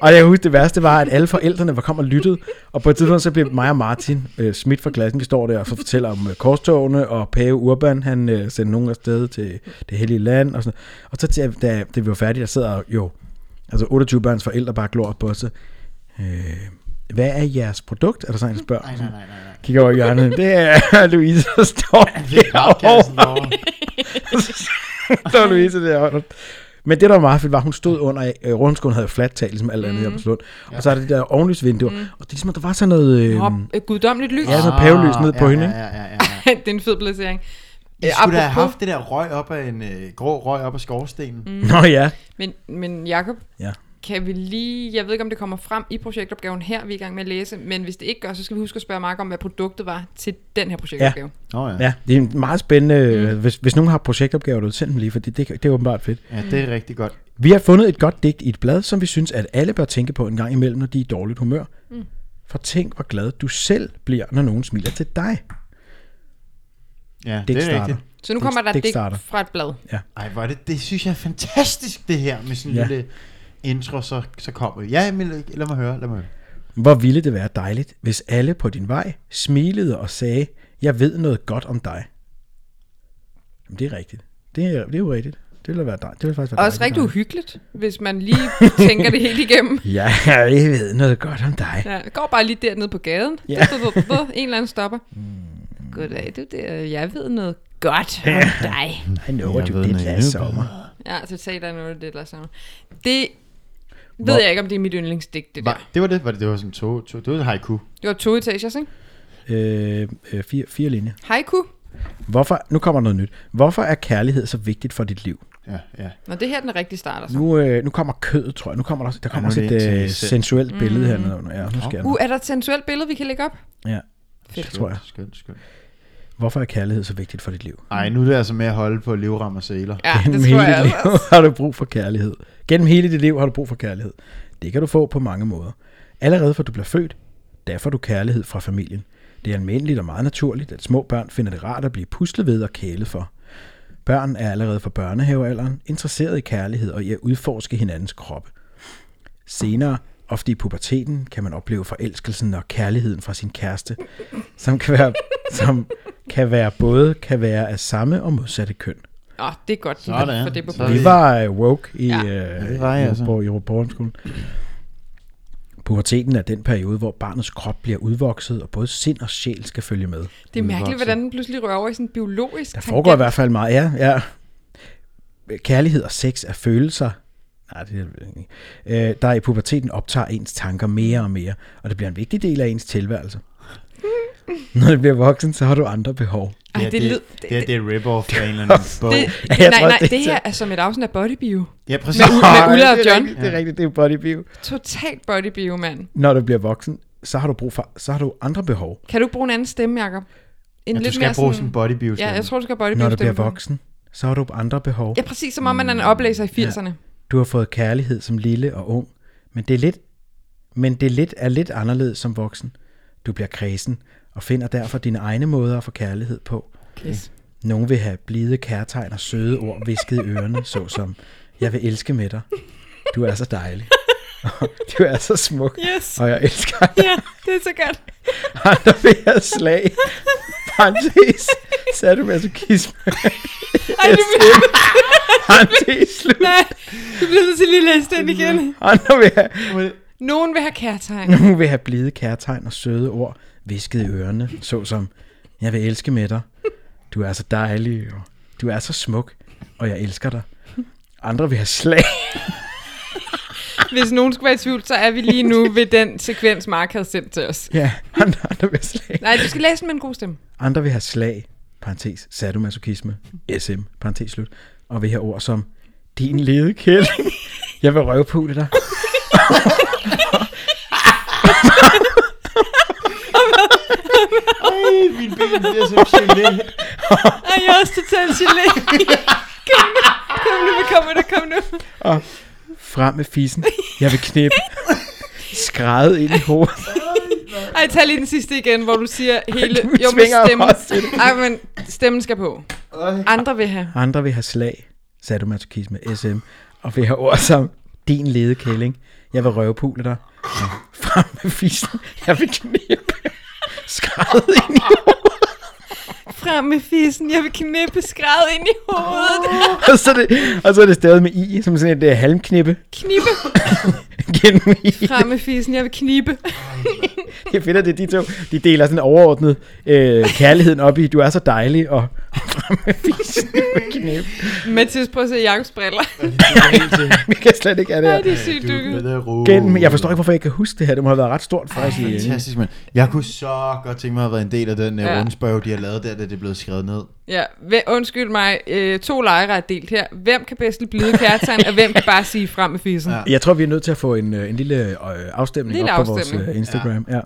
Speaker 2: Og jeg husker, det værste var, at alle forældrene var kom og lyttede. Og på et tidspunkt, så blev mig og Martin øh, smidt fra klassen. Vi står der og så fortæller om øh, korstogene, og Pave Urban, han øh, sendte nogen afsted til det hellige land. Og, sådan. og så til, da, da vi var færdige, der sidder jo, altså 28 børns forældre bare glor på os. Øh, hvad er jeres produkt? Er der sådan en, der spørger?
Speaker 3: Nej, nej, nej, nej. nej.
Speaker 2: Kigger over i hjørnet. Det er Louise, der står (laughs) derovre.
Speaker 3: Podcasten derovre.
Speaker 2: (laughs) Der var Louise derovre. Men det, der var meget fedt, var, at hun stod under, øh, Rundskolen havde jo fladt tag, ligesom alt andet mm. her på Slund. Og så er det det der ovenlysvindue, mm. og det er ligesom, at der var sådan noget... Øh,
Speaker 4: Hop, øh, guddommeligt lys.
Speaker 2: Ja, så pavelys ned på
Speaker 3: Ah, ja,
Speaker 2: hende,
Speaker 3: ja,
Speaker 2: ikke?
Speaker 3: ja, ja, ja, ja.
Speaker 4: (laughs) det er en fed placering.
Speaker 3: I
Speaker 4: Øh,
Speaker 3: skulle da have
Speaker 4: apropos-
Speaker 3: haft det der røg op af en øh, grå røg op af skorstenen. Mm.
Speaker 2: Nå ja.
Speaker 4: Men, men Jakob,
Speaker 2: ja.
Speaker 4: kan vi lige, jeg ved ikke om det kommer frem i projektopgaven her, vi er i gang med at læse, men hvis det ikke gør, så skal vi huske at spørge Mark om, hvad produktet var til den her projektopgave. Ja.
Speaker 3: Nå ja. ja.
Speaker 2: Ja, det er en meget spændende... Mm. Hvis, hvis nogen har projektopgaver, du send dem lige, for det, det, det er åbenbart fedt.
Speaker 3: Ja, det er rigtig godt.
Speaker 2: Vi har fundet et godt digt i et blad, som vi synes, at alle bør tænke på en gang imellem, når de er i dårligt humør. Mm. For tænk, hvor glad du selv bliver, når nogen smiler til dig.
Speaker 3: Ja, det,
Speaker 2: Digt
Speaker 3: det er
Speaker 2: starter.
Speaker 3: rigtigt.
Speaker 4: Så nu
Speaker 2: Digt-
Speaker 4: kommer der et
Speaker 2: digt
Speaker 4: digt
Speaker 2: starter.
Speaker 4: fra et blad.
Speaker 3: Ej, hvor er det, det synes jeg er fantastisk, det her med sådan en
Speaker 2: Ja.
Speaker 3: ja. lille intro, så, så kommer vi. Ja, men lad lad mig høre, lad mig høre.
Speaker 2: Hvor ville det være dejligt, hvis alle på din vej smilede og sagde, jeg ved noget godt om dig. Jamen, det er rigtigt. Det er, det er jo rigtigt. Det ville være dejligt. Det ville faktisk være
Speaker 4: Også rigtig
Speaker 2: dejligt.
Speaker 4: uhyggeligt, hvis man lige tænker det helt igennem.
Speaker 2: Ja, (laughs) jeg ved noget godt om dig.
Speaker 4: Ja, jeg går bare lige dernede på gaden.
Speaker 2: Ja.
Speaker 4: Ja. en eller anden stopper. Goddag, du der. Jeg ved noget godt om dig.
Speaker 2: I know what
Speaker 3: Jeg
Speaker 2: you
Speaker 3: ved
Speaker 2: did
Speaker 3: noget
Speaker 2: last
Speaker 3: endnu bedre.
Speaker 2: summer.
Speaker 4: Ja, så taler jeg noget af det eller sådan. Det ved
Speaker 2: Hvor-
Speaker 4: jeg ikke, om det er mit yndlingsdigt, det
Speaker 3: Var,
Speaker 4: der.
Speaker 3: det var det, var det, det var sådan to, to det var haiku.
Speaker 4: Det var to etagers, ikke?
Speaker 2: Øh, øh, fire, fire linjer.
Speaker 4: Haiku.
Speaker 2: Hvorfor, nu kommer noget nyt. Hvorfor er kærlighed så vigtigt for dit liv?
Speaker 3: Ja, ja.
Speaker 4: Nå, det her den rigtig starter så.
Speaker 2: Nu, øh, nu kommer kødet, tror jeg. Nu kommer der, der kommer
Speaker 3: nu er
Speaker 2: også
Speaker 3: det en
Speaker 2: et
Speaker 3: til
Speaker 2: øh,
Speaker 3: selv.
Speaker 2: sensuelt billede her hernede. under. Ja, nu skal jeg.
Speaker 4: Mm. Uh, er der et sensuelt billede, vi kan lægge op?
Speaker 2: Ja, det
Speaker 4: Fedt.
Speaker 2: tror jeg.
Speaker 3: Skønt, skønt.
Speaker 2: Hvorfor er kærlighed så vigtigt for dit liv?
Speaker 3: Ej, nu er det altså med at holde på livrem og sæler.
Speaker 4: Ja,
Speaker 2: (laughs)
Speaker 4: det
Speaker 2: Gennem
Speaker 4: tror
Speaker 2: hele
Speaker 4: jeg
Speaker 2: dit
Speaker 4: altså.
Speaker 2: liv har du brug for kærlighed. Gennem hele dit liv har du brug for kærlighed. Det kan du få på mange måder. Allerede fra du bliver født, der får du kærlighed fra familien. Det er almindeligt og meget naturligt, at små børn finder det rart at blive puslet ved og kælet for. Børn er allerede fra børnehavealderen interesseret i kærlighed og i at udforske hinandens kroppe. Senere, ofte i puberteten, kan man opleve forelskelsen og kærligheden fra sin kæreste, som kan være, som kan være både kan være af samme og modsatte køn.
Speaker 4: Åh, oh, det er godt,
Speaker 3: Sådan.
Speaker 4: for det er på
Speaker 3: Sådan.
Speaker 2: Vi var uh, woke i,
Speaker 4: Ja.
Speaker 2: ja.
Speaker 3: Ja,
Speaker 2: øh,
Speaker 3: det var jeg
Speaker 2: i,
Speaker 3: altså.
Speaker 2: altså. i Borgenskolen. Puberteten er den periode, hvor barnets krop bliver udvokset, og både sind og sjæl skal følge med.
Speaker 4: Det er mærkeligt, hvordan den pludselig rører over i sådan en biologisk
Speaker 2: Der foregår i hvert fald meget, ja, ja. Kærlighed og sex er følelser, Nej, det er det ikke. Øh, der i puberteten optager ens tanker mere og mere, og det bliver en vigtig del af ens
Speaker 4: (laughs)
Speaker 2: tilværelse. Når du bliver voksen, så har du andre behov.
Speaker 4: Ej, det,
Speaker 3: det,
Speaker 4: lød...
Speaker 3: det, her, det er rip-off af en
Speaker 4: (laughs)
Speaker 3: eller anden bog.
Speaker 4: Det,
Speaker 2: Jeg
Speaker 4: nej,
Speaker 2: tror,
Speaker 4: nej,
Speaker 2: det er
Speaker 4: det her
Speaker 2: til-
Speaker 4: er som et afsnit af Bodybio.
Speaker 3: Ja, præcis.
Speaker 4: Med, u- med Ulla og
Speaker 2: det er
Speaker 4: John.
Speaker 2: rigtigt, det er rigtigt, det er bodybio.
Speaker 4: Totalt Bodybio, mand.
Speaker 2: Når du bliver voksen, så har du brug for, så har du andre behov.
Speaker 4: Kan du ikke bruge en anden stemme, Jacob? En
Speaker 3: Ja, du skal bruge sådan en body beauty.
Speaker 4: Ja, jeg tror, du skal have Bodybio
Speaker 2: Når du bliver
Speaker 4: stemme.
Speaker 2: voksen, så har du andre behov.
Speaker 4: Ja, præcis som om man er en oplæser i 80'erne.
Speaker 2: Du har fået kærlighed som lille og ung, men det er lidt, men det er lidt, er lidt anderledes som voksen. Du bliver kredsen og finder derfor dine egne måder at få kærlighed på.
Speaker 4: Okay.
Speaker 2: Nogle vil have blide kærtegn og søde ord visket i
Speaker 4: (laughs)
Speaker 2: ørerne, såsom, jeg vil elske med dig. Du er så
Speaker 4: (laughs)
Speaker 2: dejlig. Du er altså så smuk,
Speaker 4: Yes.
Speaker 2: og jeg elsker dig.
Speaker 4: Ja, det er så godt.
Speaker 2: Andre vil have slag. Parenthes. Sagde du masochisme?
Speaker 4: Ej, du bliver,
Speaker 2: Parenthes slut.
Speaker 4: nej, du bliver nødt til lige at læse den igen.
Speaker 2: Andre vil have
Speaker 4: Nogen vil have kærtegn.
Speaker 2: Nogen vil have blide kærtegn og søde ord visket i ørerne, såsom, jeg vil elske med dig, du er så dejlig, og du er så smuk, og jeg elsker dig. Andre vil have
Speaker 4: (laughs)
Speaker 2: slag.
Speaker 4: Hvis nogen skulle være i tvivl, så er vi lige nu ved den sekvens, Mark havde sendt til os.
Speaker 2: Ja, andre, andre vil have slag.
Speaker 4: Nej, du skal læse den med en god stemme.
Speaker 2: Andre vil have slag, parentes, sadomasochisme, SM, parentes slut, og vil have ord som, din lede kælling, jeg vil røve på det dig.
Speaker 3: Ej, min ben bliver så gelé.
Speaker 4: Ej, jeg er også totalt gelé. Kom nu, kom nu, kom nu, kom nu.
Speaker 2: Frem med fissen, jeg vil knippe. Skrædet ind i hovedet.
Speaker 4: Ej, tag lige den sidste igen, hvor du siger hele...
Speaker 2: Du
Speaker 4: Jo, men
Speaker 2: tvinger mig
Speaker 4: stemmen...
Speaker 2: også til det.
Speaker 4: Ej, men stemmen skal på. Andre vil have.
Speaker 2: Andre vil have slag, sadomasochisme, SM, og vil have ord som din lede kælling. Jeg vil røvpule dig. Og Frem med fisen. Jeg vil knæppe. Skrædet ind i
Speaker 4: Frem med fissen, jeg vil knippe skræd ind i hovedet.
Speaker 2: og så, er det, og så er det stadig med i, som sådan et øh, halmknippe
Speaker 4: Knippe.
Speaker 2: gennem i.
Speaker 4: Frem med fissen, jeg vil knippe.
Speaker 2: Jeg finder det, er de to, de deler sådan overordnet øh, kærligheden op i, du er så dejlig, og frem med fisen. Knæppe.
Speaker 4: Mathis, prøv at se Jakobs briller.
Speaker 2: Vi kan slet ikke have det
Speaker 4: Nej,
Speaker 2: her.
Speaker 4: (laughs) det er sygt dykket.
Speaker 2: Gennem, jeg forstår ikke, hvorfor jeg ikke kan huske det her. Det må have været ret stort for os i
Speaker 3: Fantastisk, mand. Jeg kunne så godt tænke mig at have været en del af den uh,
Speaker 4: Ja.
Speaker 3: rundspørg, de har lavet der, da det blev skrevet ned.
Speaker 4: Ja, hvem- undskyld mig, øh, to lejre er delt her. Hvem kan bedst lide blide kærtegn, og hvem kan bare sige frem med fissen?
Speaker 3: Ja.
Speaker 2: Jeg tror, vi er nødt til at få en, øh, en lille øh, afstemning
Speaker 4: Lille
Speaker 2: op på
Speaker 4: afstemning.
Speaker 2: vores øh, Instagram. Ja. Ja.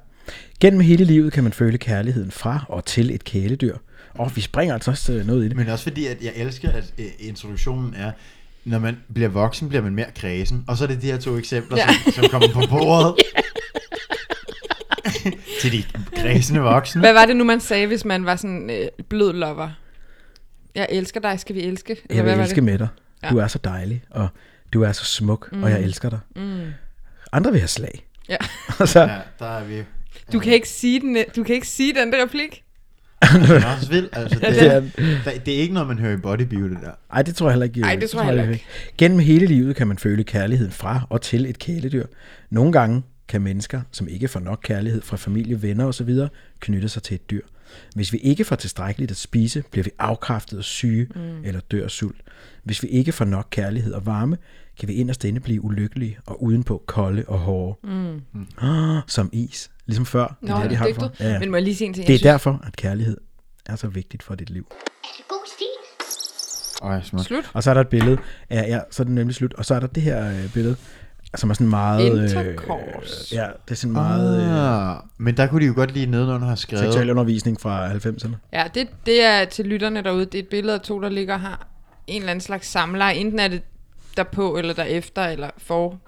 Speaker 2: Gennem hele livet kan man føle kærligheden fra og til et kæledyr. Og vi springer altså også øh, noget i det.
Speaker 3: Men også fordi, at jeg elsker, at øh, introduktionen er, når man bliver voksen, bliver man mere kredsen. Og så er det de her to eksempler,
Speaker 4: Ja.
Speaker 3: ja. som, som kommer på
Speaker 4: (laughs)
Speaker 3: bordet. (laughs) Til de kredsende voksne.
Speaker 4: Hvad var det nu, man sagde, hvis man var sådan øh, blød lover? Jeg elsker dig, skal vi elske? Eller
Speaker 2: Jeg vil
Speaker 4: hvad var
Speaker 2: elske
Speaker 4: det?
Speaker 2: med dig. Du er så dejlig, og du er så smuk, og
Speaker 4: Mm.
Speaker 2: jeg elsker dig. Andre vil have slag. (laughs)
Speaker 4: Ja.
Speaker 2: Og så,
Speaker 3: Ja, der er vi.
Speaker 4: Du, kan ikke sige den, du kan ikke sige den der replik.
Speaker 3: Den er også vild. Altså, det,
Speaker 2: det er
Speaker 3: er, der- det er ikke noget, man hører i bodybuild, det der.
Speaker 2: Ej, det tror jeg heller ikke.
Speaker 4: Ej,
Speaker 2: øh,
Speaker 4: det tror jeg heller
Speaker 2: Gennem hele livet kan man føle kærligheden fra og til et kæledyr. Nogle gange kan mennesker, som ikke får nok kærlighed fra familie, venner osv., knytte sig til et dyr. Hvis vi ikke får tilstrækkeligt at spise, bliver vi afkræftet og syge mm. eller dør af sult. Hvis vi ikke får nok kærlighed og varme, kan vi inderst inde blive ulykkelige og udenpå kolde og hårde. Mm. Ah, som is. Ligesom før.
Speaker 4: Nå, det
Speaker 2: de
Speaker 4: er
Speaker 2: har det
Speaker 4: dygtigt.
Speaker 2: for. Ja.
Speaker 4: Men må jeg lige sige en ting?
Speaker 2: Det
Speaker 4: Jeg
Speaker 2: er
Speaker 4: synes-
Speaker 2: derfor, at kærlighed er så vigtigt for dit liv.
Speaker 1: ghosty,
Speaker 3: Ej, smukt.
Speaker 4: Slut.
Speaker 2: Og så er der et billede. Ja, ja så er det nemlig slut. Og så er der det her øh, billede, som er sådan meget... øh,
Speaker 4: Intercourse.
Speaker 2: ja, det er sådan meget øh,
Speaker 3: Ah, men der kunne de jo godt lige nedenunder have skrevet...
Speaker 2: seksuel undervisning fra 90'erne.
Speaker 4: Ja, det, det er til lytterne derude. Det er et billede af to, der ligger og har en eller anden slags samleje. Enten er det derpå, eller derefter, eller for.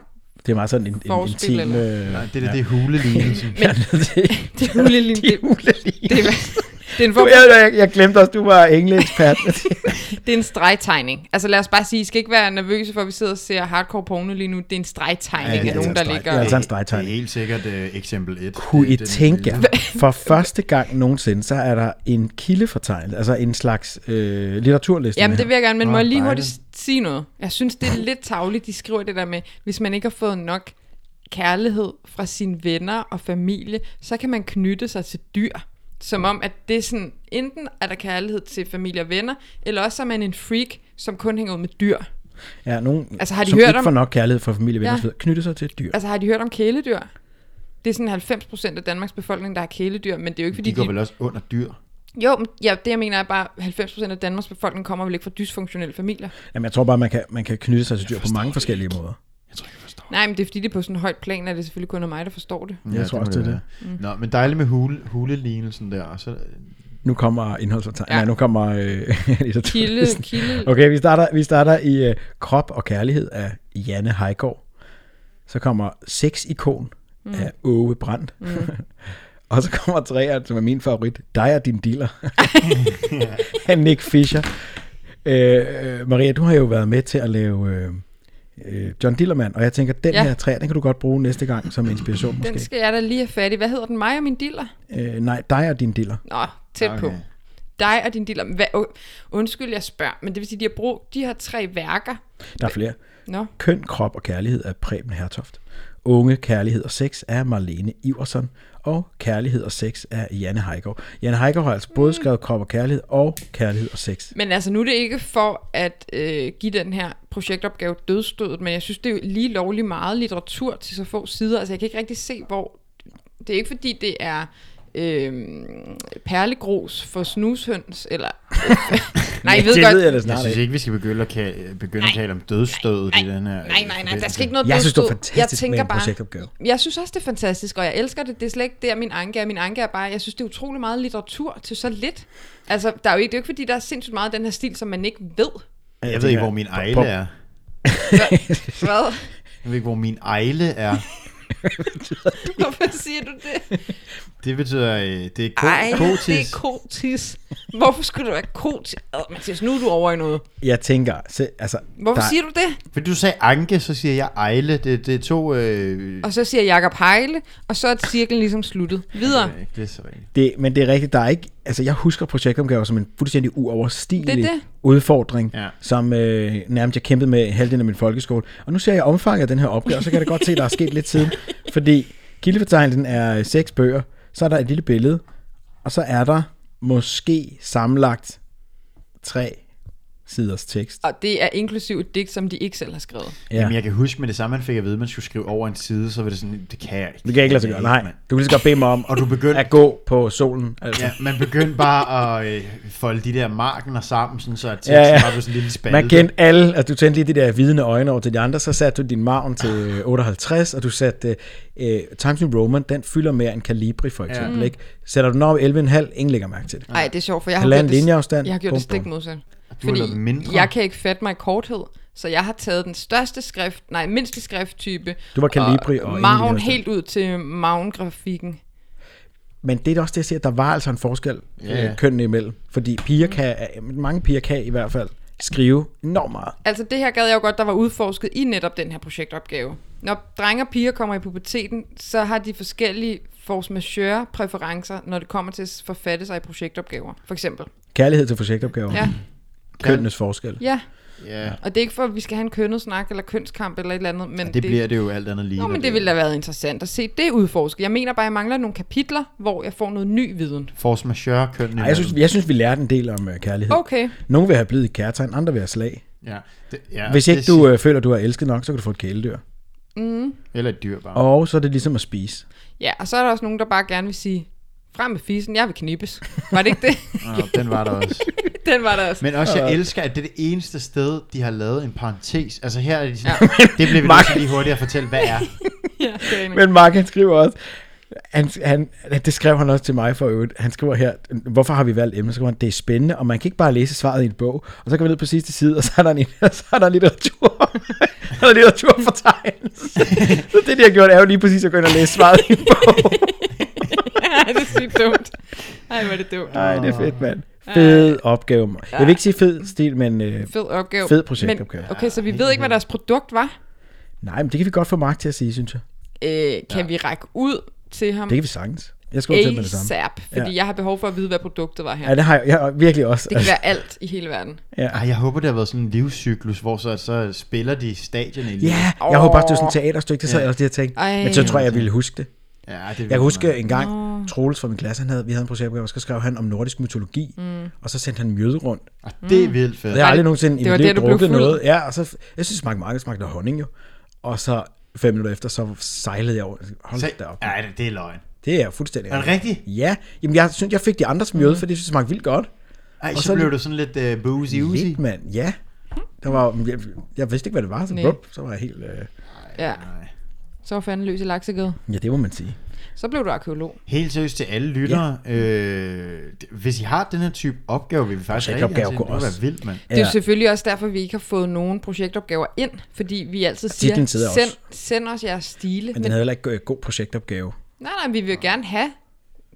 Speaker 2: Det er meget sådan en, en, en
Speaker 4: Forspil
Speaker 2: intim...
Speaker 4: eller-
Speaker 2: øh,
Speaker 3: Nej, det er ja. det
Speaker 4: (laughs)
Speaker 3: hulelignelsen.
Speaker 2: ja, det-
Speaker 4: Det er ulelim.
Speaker 2: (laughs)
Speaker 4: Det,
Speaker 2: Ulelige.
Speaker 4: det, er, det er en form
Speaker 2: jeg, jeg, jeg glemte også, du var engleekspert.
Speaker 4: (laughs) Det er en stregtegning. Altså lad os bare sige, I skal ikke være nervøse for, at vi sidder og ser hardcore porno lige nu. Det er en
Speaker 3: Ja,
Speaker 4: stregtegning
Speaker 3: det
Speaker 4: ja,
Speaker 3: er
Speaker 4: af nogen, der
Speaker 2: en streg.
Speaker 4: ligger...
Speaker 2: Det er altså en
Speaker 3: det er
Speaker 2: stregtegning.
Speaker 3: helt sikkert øh, eksempel 1.
Speaker 2: Kunne I tænke
Speaker 3: øh,
Speaker 2: jer, for første gang nogensinde, så er der en kildefortegnelse, altså en slags øh, litteraturliste.
Speaker 4: Jamen det vil jeg gerne, men må
Speaker 3: Nå,
Speaker 4: jeg lige
Speaker 3: dejligt.
Speaker 4: hurtigt sige noget? Jeg synes, det er lidt tavligt, de skriver det der med, hvis man ikke har fået nok kærlighed fra sine venner og familie, så kan man knytte sig til dyr. Som om, at det er sådan, enten er der kærlighed til familie og venner, eller også er man en freak, som kun hænger ud med dyr.
Speaker 2: Ja, nogen,
Speaker 4: Altså, har de
Speaker 2: som
Speaker 4: hørt
Speaker 2: ikke
Speaker 4: om-
Speaker 2: får nok kærlighed fra familie, venner,
Speaker 4: Ja.
Speaker 2: og så videre, knytter sig til et dyr.
Speaker 4: Altså har de hørt om kæledyr? Det er sådan 90% af Danmarks befolkning, der har kæledyr, men det er jo ikke fordi,
Speaker 3: De går vel også under dyr?
Speaker 4: Jo, men ja, det jeg mener er bare, at 90% af Danmarks befolkning kommer vel ikke fra dysfunktionelle familier.
Speaker 2: Jamen, jeg tror bare, man kan, man kan knytte sig til dyr på mange forskellige måder.
Speaker 3: Jeg tror ikke, jeg forstår.
Speaker 4: Nej, men det er fordi, det er på sådan et højt plan, at det selvfølgelig kun er mig, der forstår det.
Speaker 2: Jeg tror
Speaker 3: må
Speaker 2: også, det er
Speaker 3: være.
Speaker 4: Mm.
Speaker 3: Nå, men dejligt med hule, hulelignelsen der. og Så, øh,
Speaker 2: Nu kommer indholdsfortegnelsen. Ja.
Speaker 4: Ja.
Speaker 2: Nej, nu kommer øh, (laughs)
Speaker 4: Kilde,
Speaker 2: litteraturlisten.
Speaker 4: kilde.
Speaker 2: Okay, vi starter, vi starter i øh, Krop og Kærlighed af Janne Heigård. Så kommer Sex-ikon mm. af Åge Brandt. Mm. (laughs) og så kommer træer, som er min favorit. Dig og din
Speaker 4: (laughs)
Speaker 2: dealer. (laughs) af Nick Fischer. Øh, øh, Maria, du har jo været med til at lave øh, øh, John Dillermand, og jeg tænker, den ja.
Speaker 4: Ja.
Speaker 2: her træer, den kan du godt bruge næste gang som inspiration måske.
Speaker 4: Den skal jeg da lige have fat i. Hvad hedder den? Mig og min diller?
Speaker 2: Øh, nej, dig og din diller.
Speaker 4: Nå, tæt okay. på.
Speaker 3: Okay.
Speaker 4: Dig og din diller. Hvad, oh, undskyld, jeg spørger, men det vil sige, at de har brugt de her tre værker.
Speaker 2: Der er flere.
Speaker 4: Nå,
Speaker 2: Køn, krop og kærlighed af Preben Hertoft. Unge, kærlighed og sex af Marlene Iversen. Og kærlighed og sex af Janne Heigård. Janne Heigård har altså både skrevet krop og kærlighed og kærlighed og sex.
Speaker 4: men altså nu er det ikke for at øh, give den her projektopgave dødstødet, men jeg synes, det er jo lige lovlig meget litteratur til så få sider. Altså jeg kan ikke rigtig se, hvor... Det er ikke fordi, det er... Øh, perlegros for snushøns,
Speaker 2: (laughs)
Speaker 4: eller... nej, jeg ved
Speaker 2: det
Speaker 4: godt...
Speaker 2: ved jeg da
Speaker 3: Jeg
Speaker 2: snart
Speaker 3: synes
Speaker 2: ikke.
Speaker 3: ikke, vi skal begynde at, ka- begynde at tale om dødsstødet i den her... øh,
Speaker 4: Nej, nej, nej, der skal ikke noget
Speaker 2: Jeg synes, det er
Speaker 4: dødsstød.
Speaker 2: fantastisk med en projektopgave.
Speaker 4: Jeg synes også, det er fantastisk, og jeg elsker det. Det er slet ikke det, min anke er. Min anke er bare, jeg synes, det er utrolig meget litteratur til så lidt. Altså, der er jo ikke, det er jo ikke, fordi der er sindssygt meget af den her stil, som man ikke ved.
Speaker 3: Jeg ved ikke, hvor min ejle er. (laughs)
Speaker 4: Hvad?
Speaker 3: Jeg ved ikke, hvor min ejle
Speaker 4: (laughs)
Speaker 3: er.
Speaker 4: Hvorfor siger du det?
Speaker 3: Det betyder, øh, det er ko-
Speaker 4: Ej, det
Speaker 3: kotis.
Speaker 4: er kotis. Hvorfor skulle du være kotis? Åh, Mathias, nu er du over i noget.
Speaker 2: Jeg tænker, se, altså...
Speaker 4: Hvorfor
Speaker 2: der,
Speaker 4: siger du det?
Speaker 3: Fordi du sagde anke, så siger jeg ejle. Det, det er to... Øh,
Speaker 4: Og så siger Jakob Heile, og så er cirklen ligesom sluttet. Videre.
Speaker 3: øh, det er så rigtigt.
Speaker 2: det, men det er rigtigt, der er ikke... Altså, jeg husker projektopgaver som en fuldstændig uoverstigelig
Speaker 4: Det er det.
Speaker 2: udfordring,
Speaker 3: Ja.
Speaker 2: som øh, nærmest jeg kæmpede med halvdelen af min folkeskole. Og nu ser jeg omfanget af den her opgave, og så kan jeg da godt se, at der er sket lidt
Speaker 4: (laughs)
Speaker 2: siden. Fordi kildefortegnelsen er øh, seks bøger, så er der et lille billede, og så er der måske sammenlagt tre siders tekst.
Speaker 4: Og det er inklusiv et digt, som de ikke selv har skrevet.
Speaker 2: Ja.
Speaker 3: Jamen, jeg kan huske med det samme, man fik at vide, at man skulle skrive over en side, så var det sådan, det kan jeg ikke.
Speaker 2: Det kan jeg ikke lade sig gøre, nej.
Speaker 3: mand.
Speaker 2: Du kan lige så godt bede mig om
Speaker 3: Og du begyndte
Speaker 2: at gå på solen. Altså.
Speaker 3: Ja, man begyndte bare at øh, folde de der markener sammen, sådan, så at teksten
Speaker 2: Ja, ja.
Speaker 3: var på sådan en lille spalte.
Speaker 2: Man kendte alle, altså du tændte lige de der vidende øjne over til de andre, så satte du din maven til
Speaker 3: Ah.
Speaker 2: øh, 58, og du satte øh, Times New Roman, den fylder mere end Calibri for eksempel, ja. ikke? Sætter du den op i 11,5, ingen lægger mærke til det.
Speaker 4: Nej, det er sjovt, for jeg har
Speaker 2: Halvanden
Speaker 4: gjort det-
Speaker 2: linjeafstand.
Speaker 4: Jeg har gjort
Speaker 2: Bum,
Speaker 4: det stik
Speaker 2: bum.
Speaker 4: modsat.
Speaker 3: Du har lavet mindre.
Speaker 4: jeg kan ikke fatte mig i korthed, så jeg har taget den største skrift, nej, mindste skrifttype.
Speaker 2: Du var Calibri og ingen
Speaker 4: maven
Speaker 2: linjeafstand.
Speaker 4: helt ud til maven-grafikken.
Speaker 2: Men det er da også det, jeg siger, at der var altså en forskel
Speaker 3: Ja, ja. Mm.
Speaker 2: øh, kønnene imellem, fordi piger kan, øh, mange piger kan i hvert fald skrive enormt meget.
Speaker 4: Altså det her gad jeg jo godt, der var udforsket i netop den her projektopgave. når drenge og piger kommer i puberteten, så har de forskellige force majeure præferencer, når det kommer til at forfatte sig i projektopgaver, for eksempel.
Speaker 2: Kærlighed til projektopgaver.
Speaker 4: Ja,
Speaker 2: Kønnenes forskel.
Speaker 4: ja.
Speaker 3: Ja,
Speaker 4: og det er ikke for, at vi skal have en kønnet snak eller kønskamp eller et eller andet, men
Speaker 3: det bliver det jo alt andet lige.
Speaker 4: Nå,
Speaker 3: når
Speaker 4: men det ville da have været interessant at se det udforsket. Jeg mener bare, at jeg mangler nogle kapitler, hvor jeg får noget ny viden.
Speaker 3: Force majeure køn.
Speaker 2: Ej, jeg, synes, jeg synes, vi lærte en del om øh, kærlighed.
Speaker 4: Okay,
Speaker 2: Nogle vil have blevet i kærtegn, andre vil have slag.
Speaker 3: Ja, det, ja,
Speaker 2: Hvis ikke
Speaker 3: det
Speaker 2: du
Speaker 3: siger-
Speaker 2: øh, føler, du er elsket nok, så kan du få et kæledyr.
Speaker 3: Eller et dyr bare.
Speaker 2: Og så er det ligesom at spise.
Speaker 4: ja, og så er der også nogen, der bare gerne vil sige, frem med fisen, jeg vil knippes. Var det ikke det?
Speaker 3: Nå, den var der
Speaker 2: (laughs)
Speaker 3: også.
Speaker 4: (laughs) Den var der også.
Speaker 3: Men også, jeg elsker, at det er det eneste sted, de har lavet en parentes. Altså her er de sådan, ja. (laughs) det bliver vi
Speaker 2: Mark-
Speaker 3: nødt til lige hurtigt at fortælle, hvad er.
Speaker 4: Ja, det er (laughs) enig.
Speaker 2: Men Mark, han skriver også, han, han, det skrev han også til mig for øvrigt. Han skriver her, hvorfor har vi valgt emnet? Så skriver han, det er spændende, og man kan ikke bare læse svaret i en bog. Og så kan vi ned på sidste side, og så er der en, (laughs) så er der en litteratur. (laughs) der er en litteratur for tegn. så det, de har gjort, er jo lige præcis at gå ind og læse svaret i en (laughs) bog.
Speaker 4: Ej, det er sygt dumt. Ej, hvor er det dumt.
Speaker 2: Nej, det er fedt, mand. Fed opgave. mand. Jeg vil ikke sige fed stil, men... Øh,
Speaker 4: Fed opgave.
Speaker 2: Fed projektopgave.
Speaker 4: Men, okay, så vi ved ikke, hvad deres produkt var.
Speaker 2: nej, men det kan vi godt få Mark til at sige, synes jeg.
Speaker 4: Øh, kan ja. vi række ud til ham
Speaker 2: Det kan vi sagtens. Jeg skriver til med det samme.
Speaker 4: ASAP? Fordi
Speaker 2: Ja.
Speaker 4: ja. jeg har behov for at vide, hvad produktet var her.
Speaker 2: Ja, det har jeg, jeg har virkelig også.
Speaker 4: Det kan være alt i hele verden.
Speaker 2: ja.
Speaker 3: Ej, jeg håber, det har været sådan en livscyklus, hvor så, så spiller de stadierne i livet.
Speaker 2: Ja, jeg oh. håber også, det er sådan et teaterstykke, det sad jeg også lige og tænkte.
Speaker 4: Ej.
Speaker 2: Men så tror jeg, jeg ville huske det.
Speaker 3: Ja, det
Speaker 2: Jeg kan huske
Speaker 3: jeg
Speaker 2: en gang, no. Troels fra min klasse, han havde, vi havde en projektopgave, og så skrev han om nordisk mytologi, mm. og så sendte han mjøde rundt. Og
Speaker 3: Det
Speaker 4: Mm.
Speaker 3: er vildt fedt.
Speaker 2: jeg har
Speaker 4: Ej,
Speaker 2: aldrig nogensinde i
Speaker 4: det var
Speaker 2: mit liv
Speaker 4: der, du blev
Speaker 2: drukket
Speaker 4: fuld.
Speaker 2: noget. Ja, og så, jeg synes, det smagte meget, det smagte af honning jo. Og så fem minutter efter, så sejlede jeg over. Hold da op.
Speaker 3: Nej, det, det er løgn.
Speaker 2: Det er fuldstændig.
Speaker 3: Er det rigtigt?
Speaker 2: Ja, jamen jeg synes, jeg fik de andres mjøde,
Speaker 4: Mm.
Speaker 2: for det synes jeg smagte vildt godt.
Speaker 3: Ej,
Speaker 2: Og
Speaker 3: så,
Speaker 2: så
Speaker 3: så blev
Speaker 2: lidt-
Speaker 3: du sådan lidt uh, boozy oozy.
Speaker 2: Vildt, mand. Ja. Der var, jeg, jeg, vidste ikke, hvad det var, så,
Speaker 4: Næ.
Speaker 2: bup, så var jeg helt... Øh,
Speaker 4: Ja, så var fanden løs i laksegade.
Speaker 2: ja, det må man sige.
Speaker 4: Så blev du arkeolog.
Speaker 3: Helt seriøst til alle lyttere. Ja. Øh, d- hvis I har den her type opgave, vil vi faktisk rigtig
Speaker 2: Projektopgave
Speaker 3: gerne se. den. Det
Speaker 2: kunne
Speaker 3: kunne
Speaker 2: også-
Speaker 3: være vildt, mand.
Speaker 4: Det er jo
Speaker 2: Ja.
Speaker 4: selvfølgelig også derfor, vi ikke har fået nogen projektopgaver ind, fordi vi altid
Speaker 2: titlen
Speaker 4: siger,
Speaker 2: sidder
Speaker 4: send,
Speaker 2: også."
Speaker 4: send os jeres stile.
Speaker 2: Men den havde heller ikke øh, god projektopgave.
Speaker 4: nej, nej, vi vil gerne have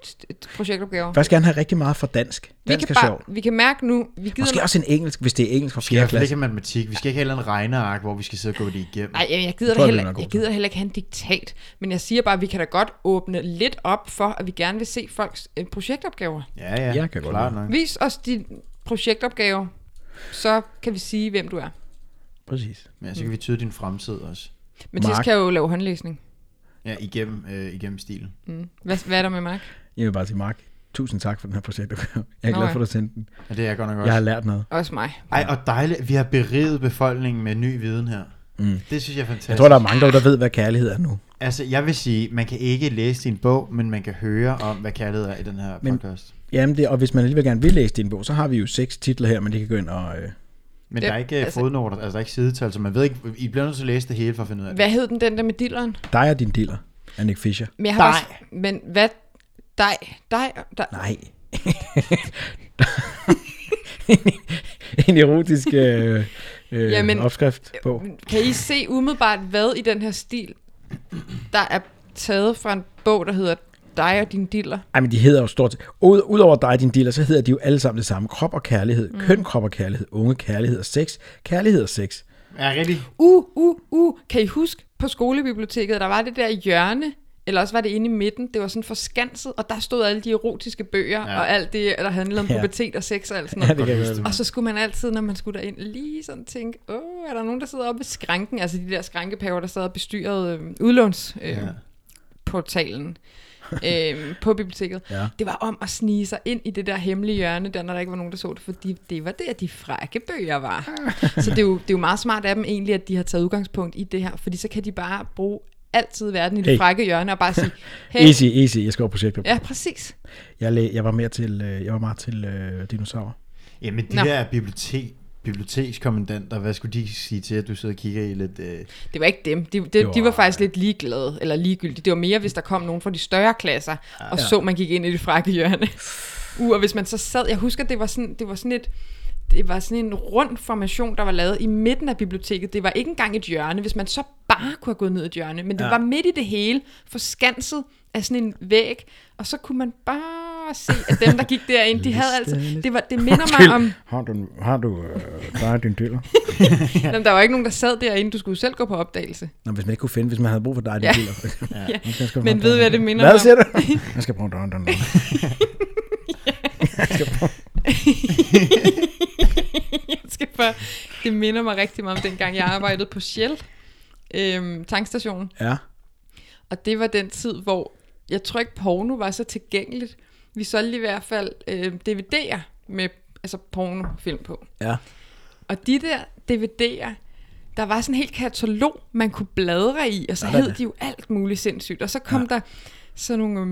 Speaker 4: st- projektopgaver.
Speaker 2: Jeg vil faktisk gerne have rigtig meget fra dansk.
Speaker 4: Vi
Speaker 2: Dansk
Speaker 4: kan,
Speaker 2: er
Speaker 4: bare,
Speaker 2: sjovt.
Speaker 4: vi kan mærke nu, vi gider...
Speaker 2: Måske også en engelsk, hvis det er engelsk fra
Speaker 3: Vi skal i
Speaker 2: 4.
Speaker 3: hvert fald
Speaker 2: klasse.
Speaker 3: ikke have matematik. Vi skal ikke have et eller andet regneark, hvor vi skal sidde og gå det igennem.
Speaker 4: Nej, jeg, jeg, gider
Speaker 2: tror, vi
Speaker 4: da heller,
Speaker 2: er nok
Speaker 4: jeg
Speaker 2: gode
Speaker 4: gider heller ikke have en diktat, men jeg siger bare, at vi kan da godt åbne lidt op for, at vi gerne vil se folks øh, projektopgaver.
Speaker 3: Ja, ja.
Speaker 2: Jeg kan godt
Speaker 3: Klart
Speaker 2: lide
Speaker 3: nok.
Speaker 4: Vis os din projektopgave, så kan vi sige, hvem du er.
Speaker 2: Præcis.
Speaker 3: Ja, altså, så kan vi tyde din fremtid også.
Speaker 4: Mathias
Speaker 2: Mark.
Speaker 4: kan jo lave håndlæsning.
Speaker 3: Ja, igennem, øh, igennem stilen.
Speaker 4: Hvad, hvad er der med Mark?
Speaker 2: Jeg vil bare sige, Mark, tusind tak for den her projektopgave. Jeg er
Speaker 4: Nå
Speaker 2: glad
Speaker 4: ja.
Speaker 2: for, at du sendte den.
Speaker 3: Ja, det er godt nok også.
Speaker 2: Jeg har lært noget.
Speaker 4: Også mig.
Speaker 3: Ej, og dejligt. Vi har beriget befolkningen med ny viden her. Mm. Det synes jeg er fantastisk.
Speaker 2: Jeg tror, der er mange derude, der ved, hvad kærlighed er nu.
Speaker 3: Altså, jeg vil sige, man kan ikke læse din bog, men man kan høre om, hvad kaldet er i den her
Speaker 2: Men-
Speaker 3: podcast. Men,
Speaker 2: Jamen, det, og hvis man alligevel gerne vil læse din bog, så har vi jo seks titler her, men det kan gå ind og... Øh,
Speaker 3: men
Speaker 4: Det-
Speaker 3: der er ikke altså,
Speaker 4: altså-
Speaker 3: fodnoter, altså der er ikke sidetal, så man ved ikke, I bliver nødt til at læse det hele for at finde ud af det.
Speaker 4: Hvad hed den, den der med dilleren?
Speaker 2: dig og din dealer, af Nick Fisher.
Speaker 4: Men, jeg har Bare, men hvad? Dig? Dig? dig.
Speaker 2: Nej. (laughs) en erotisk øh, øh,
Speaker 4: Jamen-
Speaker 2: opskrift på.
Speaker 4: Kan I se umiddelbart, hvad i den her stil, der er taget fra en bog, der hedder Dig og din diller?
Speaker 2: Ej, men de hedder jo stort ud, Udover dig og din dealer, så hedder de jo alle sammen det samme. Krop og kærlighed, mm. køn, krop og kærlighed, unge, kærlighed og sex, kærlighed og sex.
Speaker 3: Ja, rigtigt.
Speaker 4: Uh, uh, uh. Kan I huske på skolebiblioteket, der var det der hjørne, eller også var det inde i midten, det var sådan forskanset, og der stod alle de erotiske bøger, ja. og alt det, der handlede om
Speaker 2: Ja.
Speaker 4: pubertet og sex og alt sådan
Speaker 2: Ja,
Speaker 4: noget.
Speaker 2: det kan jeg godt.
Speaker 4: Og så skulle man altid, når man skulle derind, lige sådan tænke, åh, er der nogen, der sidder oppe ved skranken? Altså de der skrankepaver, der sad og bestyrede øh, udlånsportalen øh,
Speaker 2: (laughs)
Speaker 4: portalen, øh, på biblioteket.
Speaker 2: Ja.
Speaker 4: Det var om at snige sig ind i det der hemmelige hjørne, der, når der ikke var nogen, der så det, fordi det var der, de frække bøger var.
Speaker 2: (laughs)
Speaker 4: så det er, jo, det er jo meget smart af dem egentlig, at de har taget udgangspunkt i det her, fordi så kan de bare bruge altid verden i det
Speaker 2: Hey.
Speaker 4: frække hjørne og bare
Speaker 2: (laughs)
Speaker 4: sige, hey,
Speaker 2: Easy, easy. Jeg skal over projektet. Ja.
Speaker 4: ja, præcis.
Speaker 2: Jeg, læ- jeg var mere til, øh, jeg var meget til øh, dinosaurer.
Speaker 3: Jamen, de Nå.
Speaker 4: Nå.
Speaker 3: der bibliotek, bibliotekskommandanter, hvad skulle de sige til, at du sidder og kigger i lidt... Øh...
Speaker 4: Det var ikke dem. De, de,
Speaker 2: var-
Speaker 4: de var faktisk lidt ligeglade, eller ligegyldige. Det var mere, hvis der kom nogen fra de større klasser, og så man gik ind i det frakke (laughs) hjørne. Uh, og hvis man så sad, jeg husker, det var sådan, det var sådan et, det var sådan en rund formation, der var lavet i midten af biblioteket. Det var ikke engang et hjørne, hvis man så bare kunne have gået ned i et hjørne. Men det ja. var midt i det hele, forskanset af sådan en væg, og så kunne man bare at se, at dem, der gik derind, de havde altså... Det, var, det minder mig (laughs)
Speaker 2: Undskyld.
Speaker 4: om...
Speaker 2: Har du, har du øh, bare din diller?
Speaker 4: Jamen, der var ikke nogen, der sad derinde. Du skulle jo selv gå på opdagelse.
Speaker 2: Nå, hvis man ikke kunne finde, hvis man havde brug for dig, din
Speaker 4: Ja.
Speaker 2: diller.
Speaker 4: (laughs) Ja.
Speaker 2: Man skal
Speaker 4: Men
Speaker 2: bruge
Speaker 4: ved I, hvad
Speaker 2: dun-
Speaker 4: det minder mig
Speaker 2: Hvad
Speaker 4: om?
Speaker 2: siger du? Jeg skal bruge don, don, don.
Speaker 4: Jeg (laughs) skal bare, det minder mig rigtig meget om dengang, jeg arbejdede på Shell, øhm, tankstationen.
Speaker 2: Ja.
Speaker 4: Og det var den tid, hvor jeg tror ikke, porno var så tilgængeligt. Vi solgte i hvert fald øh, DVD'er med altså pornofilm på.
Speaker 2: Ja.
Speaker 4: Og de der DVD'er, der var sådan en helt katalog, man kunne bladre i, og så
Speaker 2: Sådan.
Speaker 4: hed de jo alt muligt sindssygt. Og så kom ja. der sådan nogle øhm,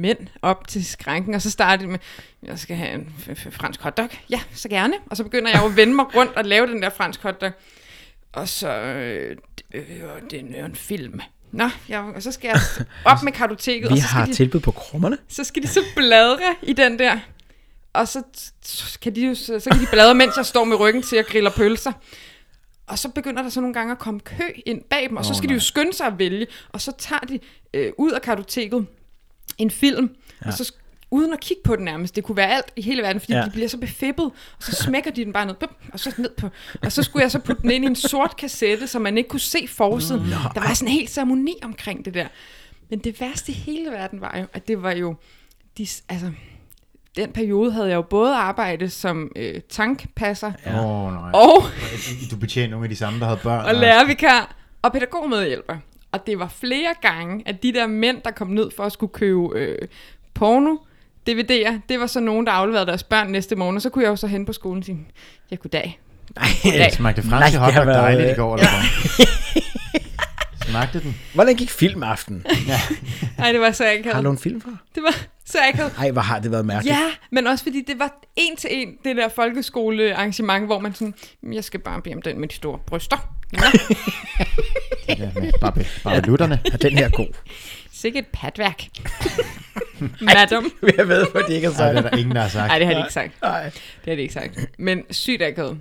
Speaker 4: mænd op til skranken, og så startede de med, jeg skal have en f- f- fransk hotdog. Ja, så gerne. Og så begynder jeg jo at vende mig rundt og lave den der fransk hotdog. Og så, øh, d- øh, og det er jo en film. Nå, ja, og så skal jeg
Speaker 2: (laughs)
Speaker 4: op med kartoteket.
Speaker 2: Vi
Speaker 4: og så skal
Speaker 2: har
Speaker 4: de,
Speaker 2: tilbud på
Speaker 4: (laughs)
Speaker 2: krummerne.
Speaker 4: så skal de så bladre i den der. Og så, så kan de jo så, så kan de bladre, mens jeg står med ryggen til og griller pølser. Og så begynder der så nogle gange at komme kø ind bag dem, og så skal de jo skynde sig at vælge. Og så tager de øh, ud af kartoteket en film, ja. og så sk- uden at kigge på den nærmest. Det kunne være alt i hele verden, fordi
Speaker 2: Ja.
Speaker 4: ja. de bliver så befippet, og så smækker de den bare ned, bup, og så ned på. Og så skulle jeg så putte den ind i en sort kassette, så man ikke kunne se forsiden. Der var sådan en hel ceremoni omkring det der. Men det værste i hele verden var jo, at det var jo... De, s- altså, den periode havde jeg jo både arbejde som øh, tankpasser ja.
Speaker 3: Åh, oh, nej.
Speaker 4: og,
Speaker 3: Du betjener nogle af de samme, der havde børn.
Speaker 4: og lærervikar og pædagogmedhjælper. Og det var flere gange, at de der mænd, der kom ned for at skulle købe øh, porno, DVD'er, det var så nogen, der afleverede deres børn næste morgen, og så kunne jeg jo så hen på skolen og sige, jeg kunne dag.
Speaker 2: Nej.
Speaker 3: Det smagte
Speaker 2: Nej,
Speaker 3: fransk
Speaker 2: det
Speaker 3: nej,
Speaker 2: har
Speaker 3: hotdog
Speaker 2: været-
Speaker 3: dejligt i går, eller
Speaker 2: (laughs)
Speaker 3: hvad? smagte den?
Speaker 2: Hvordan gik filmaften?
Speaker 4: Nej, det var så
Speaker 2: Har du
Speaker 4: akavet.
Speaker 2: en film fra?
Speaker 4: Det var så akavet.
Speaker 2: Ej, hvor har det været mærkeligt.
Speaker 4: Ja, men også fordi det var en til en, det der folkeskolearrangement, hvor man sådan, jeg skal bare bede om den med de store bryster. Nå,
Speaker 3: Ja, med babbe,
Speaker 2: (laughs)
Speaker 3: babbelutterne.
Speaker 2: Er den her god?
Speaker 4: sikke et
Speaker 2: (laughs)
Speaker 4: patværk. Madam.
Speaker 2: Jeg ved, hvor det ikke er
Speaker 3: Nej, det
Speaker 2: sådan.
Speaker 3: er der ingen, der har sagt.
Speaker 4: Nej, det har de ikke sagt.
Speaker 2: Nej.
Speaker 4: Det har de ikke sagt. Men sygt akavet.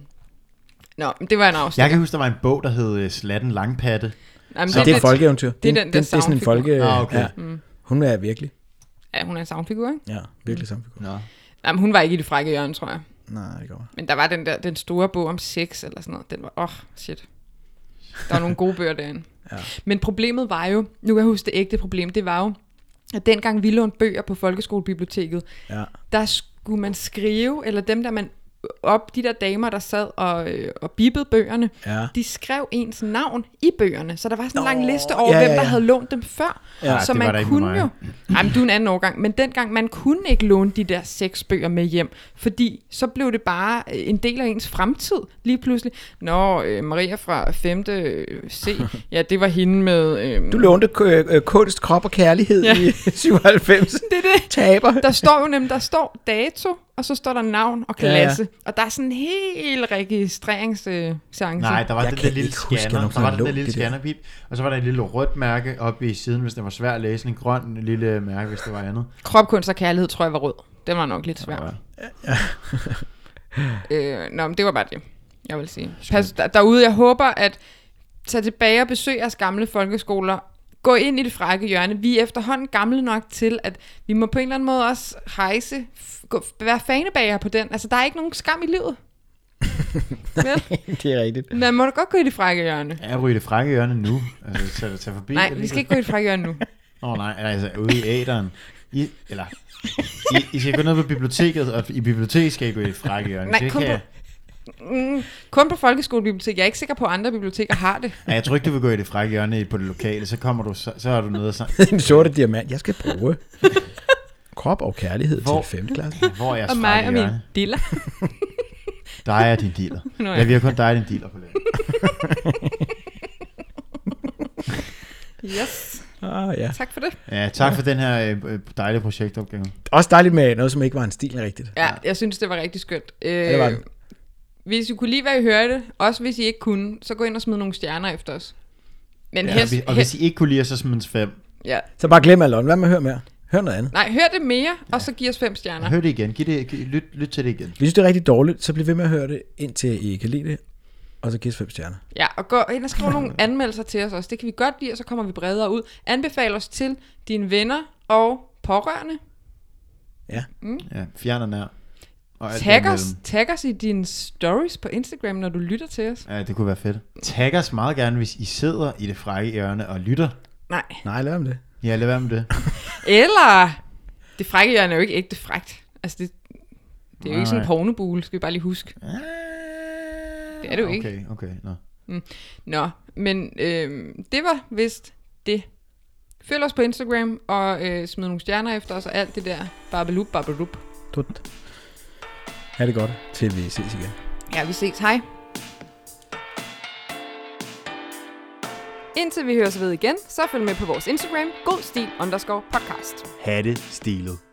Speaker 4: Nå, men det var en afsnit.
Speaker 3: Jeg kan huske, der var en bog, der hed øh, Slatten Langpatte.
Speaker 4: Jamen,
Speaker 2: Så det er et folkeeventyr.
Speaker 4: det er den der
Speaker 2: det er sådan en
Speaker 4: savnfigur.
Speaker 2: folke...
Speaker 3: Ah, okay.
Speaker 4: Mm.
Speaker 2: Hun er virkelig.
Speaker 4: Ja, hun er en savnfigur, ikke?
Speaker 2: Ja, virkelig samfigur.
Speaker 3: Nå.
Speaker 4: Jamen, hun var ikke i det frække hjørne, tror jeg.
Speaker 2: Nej, det går.
Speaker 4: Men der var den der, den store bog om sex eller sådan noget. Den var, åh, oh, shit. Der var nogle gode bøger
Speaker 2: (laughs)
Speaker 4: derinde. Ja. Men problemet var jo, nu kan jeg huske det ægte problem, det var jo, at dengang vi lånte bøger på folkeskolebiblioteket,
Speaker 2: Ja.
Speaker 4: der skulle man skrive, eller dem der man op, de der damer, der sad og, øh, og bippede bøgerne,
Speaker 2: Ja.
Speaker 4: de skrev ens navn i bøgerne. Så der var sådan en lang
Speaker 2: Nå,
Speaker 4: liste over,
Speaker 2: ja, ja,
Speaker 4: hvem der
Speaker 2: ja.
Speaker 4: havde lånt dem før.
Speaker 2: Ja,
Speaker 4: så
Speaker 3: det var der
Speaker 4: man
Speaker 3: ikke
Speaker 4: kunne
Speaker 3: med
Speaker 4: jo...
Speaker 3: mig.
Speaker 4: Ej, men du er en anden årgang. Men dengang, man kunne ikke låne de der seks bøger med hjem, fordi så blev det bare øh, en del af ens fremtid lige pludselig. Nå, øh, Maria fra 5. C, ja, det var hende med... Øh,
Speaker 2: Du lånte k- øh, kunst, krop og kærlighed ja.
Speaker 4: Ja.
Speaker 2: i (laughs) 97.
Speaker 4: det er det.
Speaker 2: Taber. (laughs)
Speaker 4: Der står jo nemlig, der står dato, og så står der navn og
Speaker 2: Ja, ja.
Speaker 4: klasse. Ja, ja. Og der er sådan en hel registreringsseance.
Speaker 3: Nej, der
Speaker 2: Altså,
Speaker 3: var
Speaker 2: Jeg kan
Speaker 3: den der lille
Speaker 2: ikke huske, jeg
Speaker 3: scanner. Der
Speaker 2: nogensinde har
Speaker 3: var den der
Speaker 2: lånt
Speaker 3: lille
Speaker 2: det der.
Speaker 3: scannerpip. Og så var der et lille rødt mærke oppe i siden, hvis det var svært at læse. En grøn lille mærke, hvis det var andet.
Speaker 4: Kropkunst og kærlighed, tror jeg, var rød. Den var nok lidt svær. øh, nå, men det var bare det, jeg vil sige. Pas der, derude, jeg håber, at tage tilbage og besøge jeres gamle folkeskoler. Gå ind i det frække hjørne. Vi er efterhånden gamle nok til, at vi må på en eller anden måde også rejse, f- gå, være fanebager på den. Altså, der er ikke nogen skam i (laughs) livet. Vel?
Speaker 2: det er rigtigt.
Speaker 4: Man må da godt gå i det frække hjørne.
Speaker 3: Er ryge det frække hjørne nu? Altså, tag, tag forbi.
Speaker 4: Nej,
Speaker 3: det
Speaker 4: vi
Speaker 3: lige-
Speaker 4: skal ikke gå i det frække hjørne nu.
Speaker 3: Nå nej, altså ude i æderen. I, eller, I, I skal gå ned på biblioteket, og i biblioteket skal I gå i et frække hjørne.
Speaker 4: Nej,
Speaker 3: Det
Speaker 4: kun
Speaker 3: kan-
Speaker 4: Mm, kun på folkeskolebiblioteket. Jeg er ikke sikker på, at andre biblioteker har det.
Speaker 3: Nej, jeg tror ikke, du vil gå i det frække hjørne på det lokale. Så kommer du, så, så har du noget at sige.
Speaker 2: Den sorte diamant, jeg skal
Speaker 4: (laughs)
Speaker 2: bruge. Krop og kærlighed
Speaker 3: Hvor-
Speaker 2: til 5. klasse.
Speaker 3: Hvor er jeres
Speaker 4: Og mig
Speaker 3: frække
Speaker 4: og min
Speaker 3: hjørne?
Speaker 4: diller.
Speaker 3: Dig er din dealer.
Speaker 4: (laughs) Nå ja.
Speaker 3: ja. vi har kun dig og din dealer på lager.
Speaker 4: Yes,
Speaker 2: Ah, ja.
Speaker 4: tak for det.
Speaker 3: Ja, tak for den her øh, øh, dejlige projektopgave.
Speaker 2: Også dejligt med noget, som ikke var en stil rigtigt.
Speaker 4: Ja, jeg synes, det var rigtig skønt. Øh,
Speaker 2: det var det.
Speaker 4: Hvis I kunne lide, hvad I hørte, også hvis I ikke kunne, så gå ind og smid nogle stjerner efter os. Men ja,
Speaker 3: Ja, og,
Speaker 4: helst,
Speaker 3: vi, og hvis I ikke kunne lide os, så smidt fem.
Speaker 4: ja.
Speaker 2: Så bare glem Alon. Hvad med at høre mere? Hør noget andet.
Speaker 4: Nej, hør det mere, og så giv os fem stjerner.
Speaker 3: Hør det igen. Giv det, giv, lyt, lyt til det igen.
Speaker 2: Hvis I synes, det er rigtig dårligt, så bliv ved med at høre det, indtil I kan lide det. Og så giv os 5 stjerner.
Speaker 4: Ja, og gå ind og skriv nogle anmeldelser til os også. Det kan vi godt lide, og så kommer vi bredere ud. Anbefal os til dine venner og pårørende.
Speaker 2: Ja.
Speaker 3: Ja, fjern og nær. Og alt
Speaker 4: Tag os,
Speaker 3: derimellem.
Speaker 4: tag os i dine stories på Instagram, når du lytter til os.
Speaker 3: Ja, det kunne være fedt. Tag os meget gerne, hvis I sidder i det frække hjørne og lytter.
Speaker 4: Nej.
Speaker 2: Nej, lad om det.
Speaker 3: Ja, lad være med det.
Speaker 4: Eller, det frække hjørne er jo ikke ægte frækt. Altså, det, det er jo
Speaker 3: Nej,
Speaker 4: ikke sådan en
Speaker 3: nej. Ah.
Speaker 4: pornobule, skal vi bare lige huske. Det er det jo ikke.
Speaker 3: Okay, okay. Nå.
Speaker 4: Nå, men øh, det var vist det. Følg os på Instagram og øh, smid nogle stjerner efter os og alt det der. Babalup, babalup.
Speaker 2: Tut. Ha' det godt, til vi ses igen.
Speaker 4: Ja, vi ses. Hej. Indtil vi høres ved igen, så følg med på vores Instagram, godstil underscore podcast.
Speaker 3: Ha' det stilet.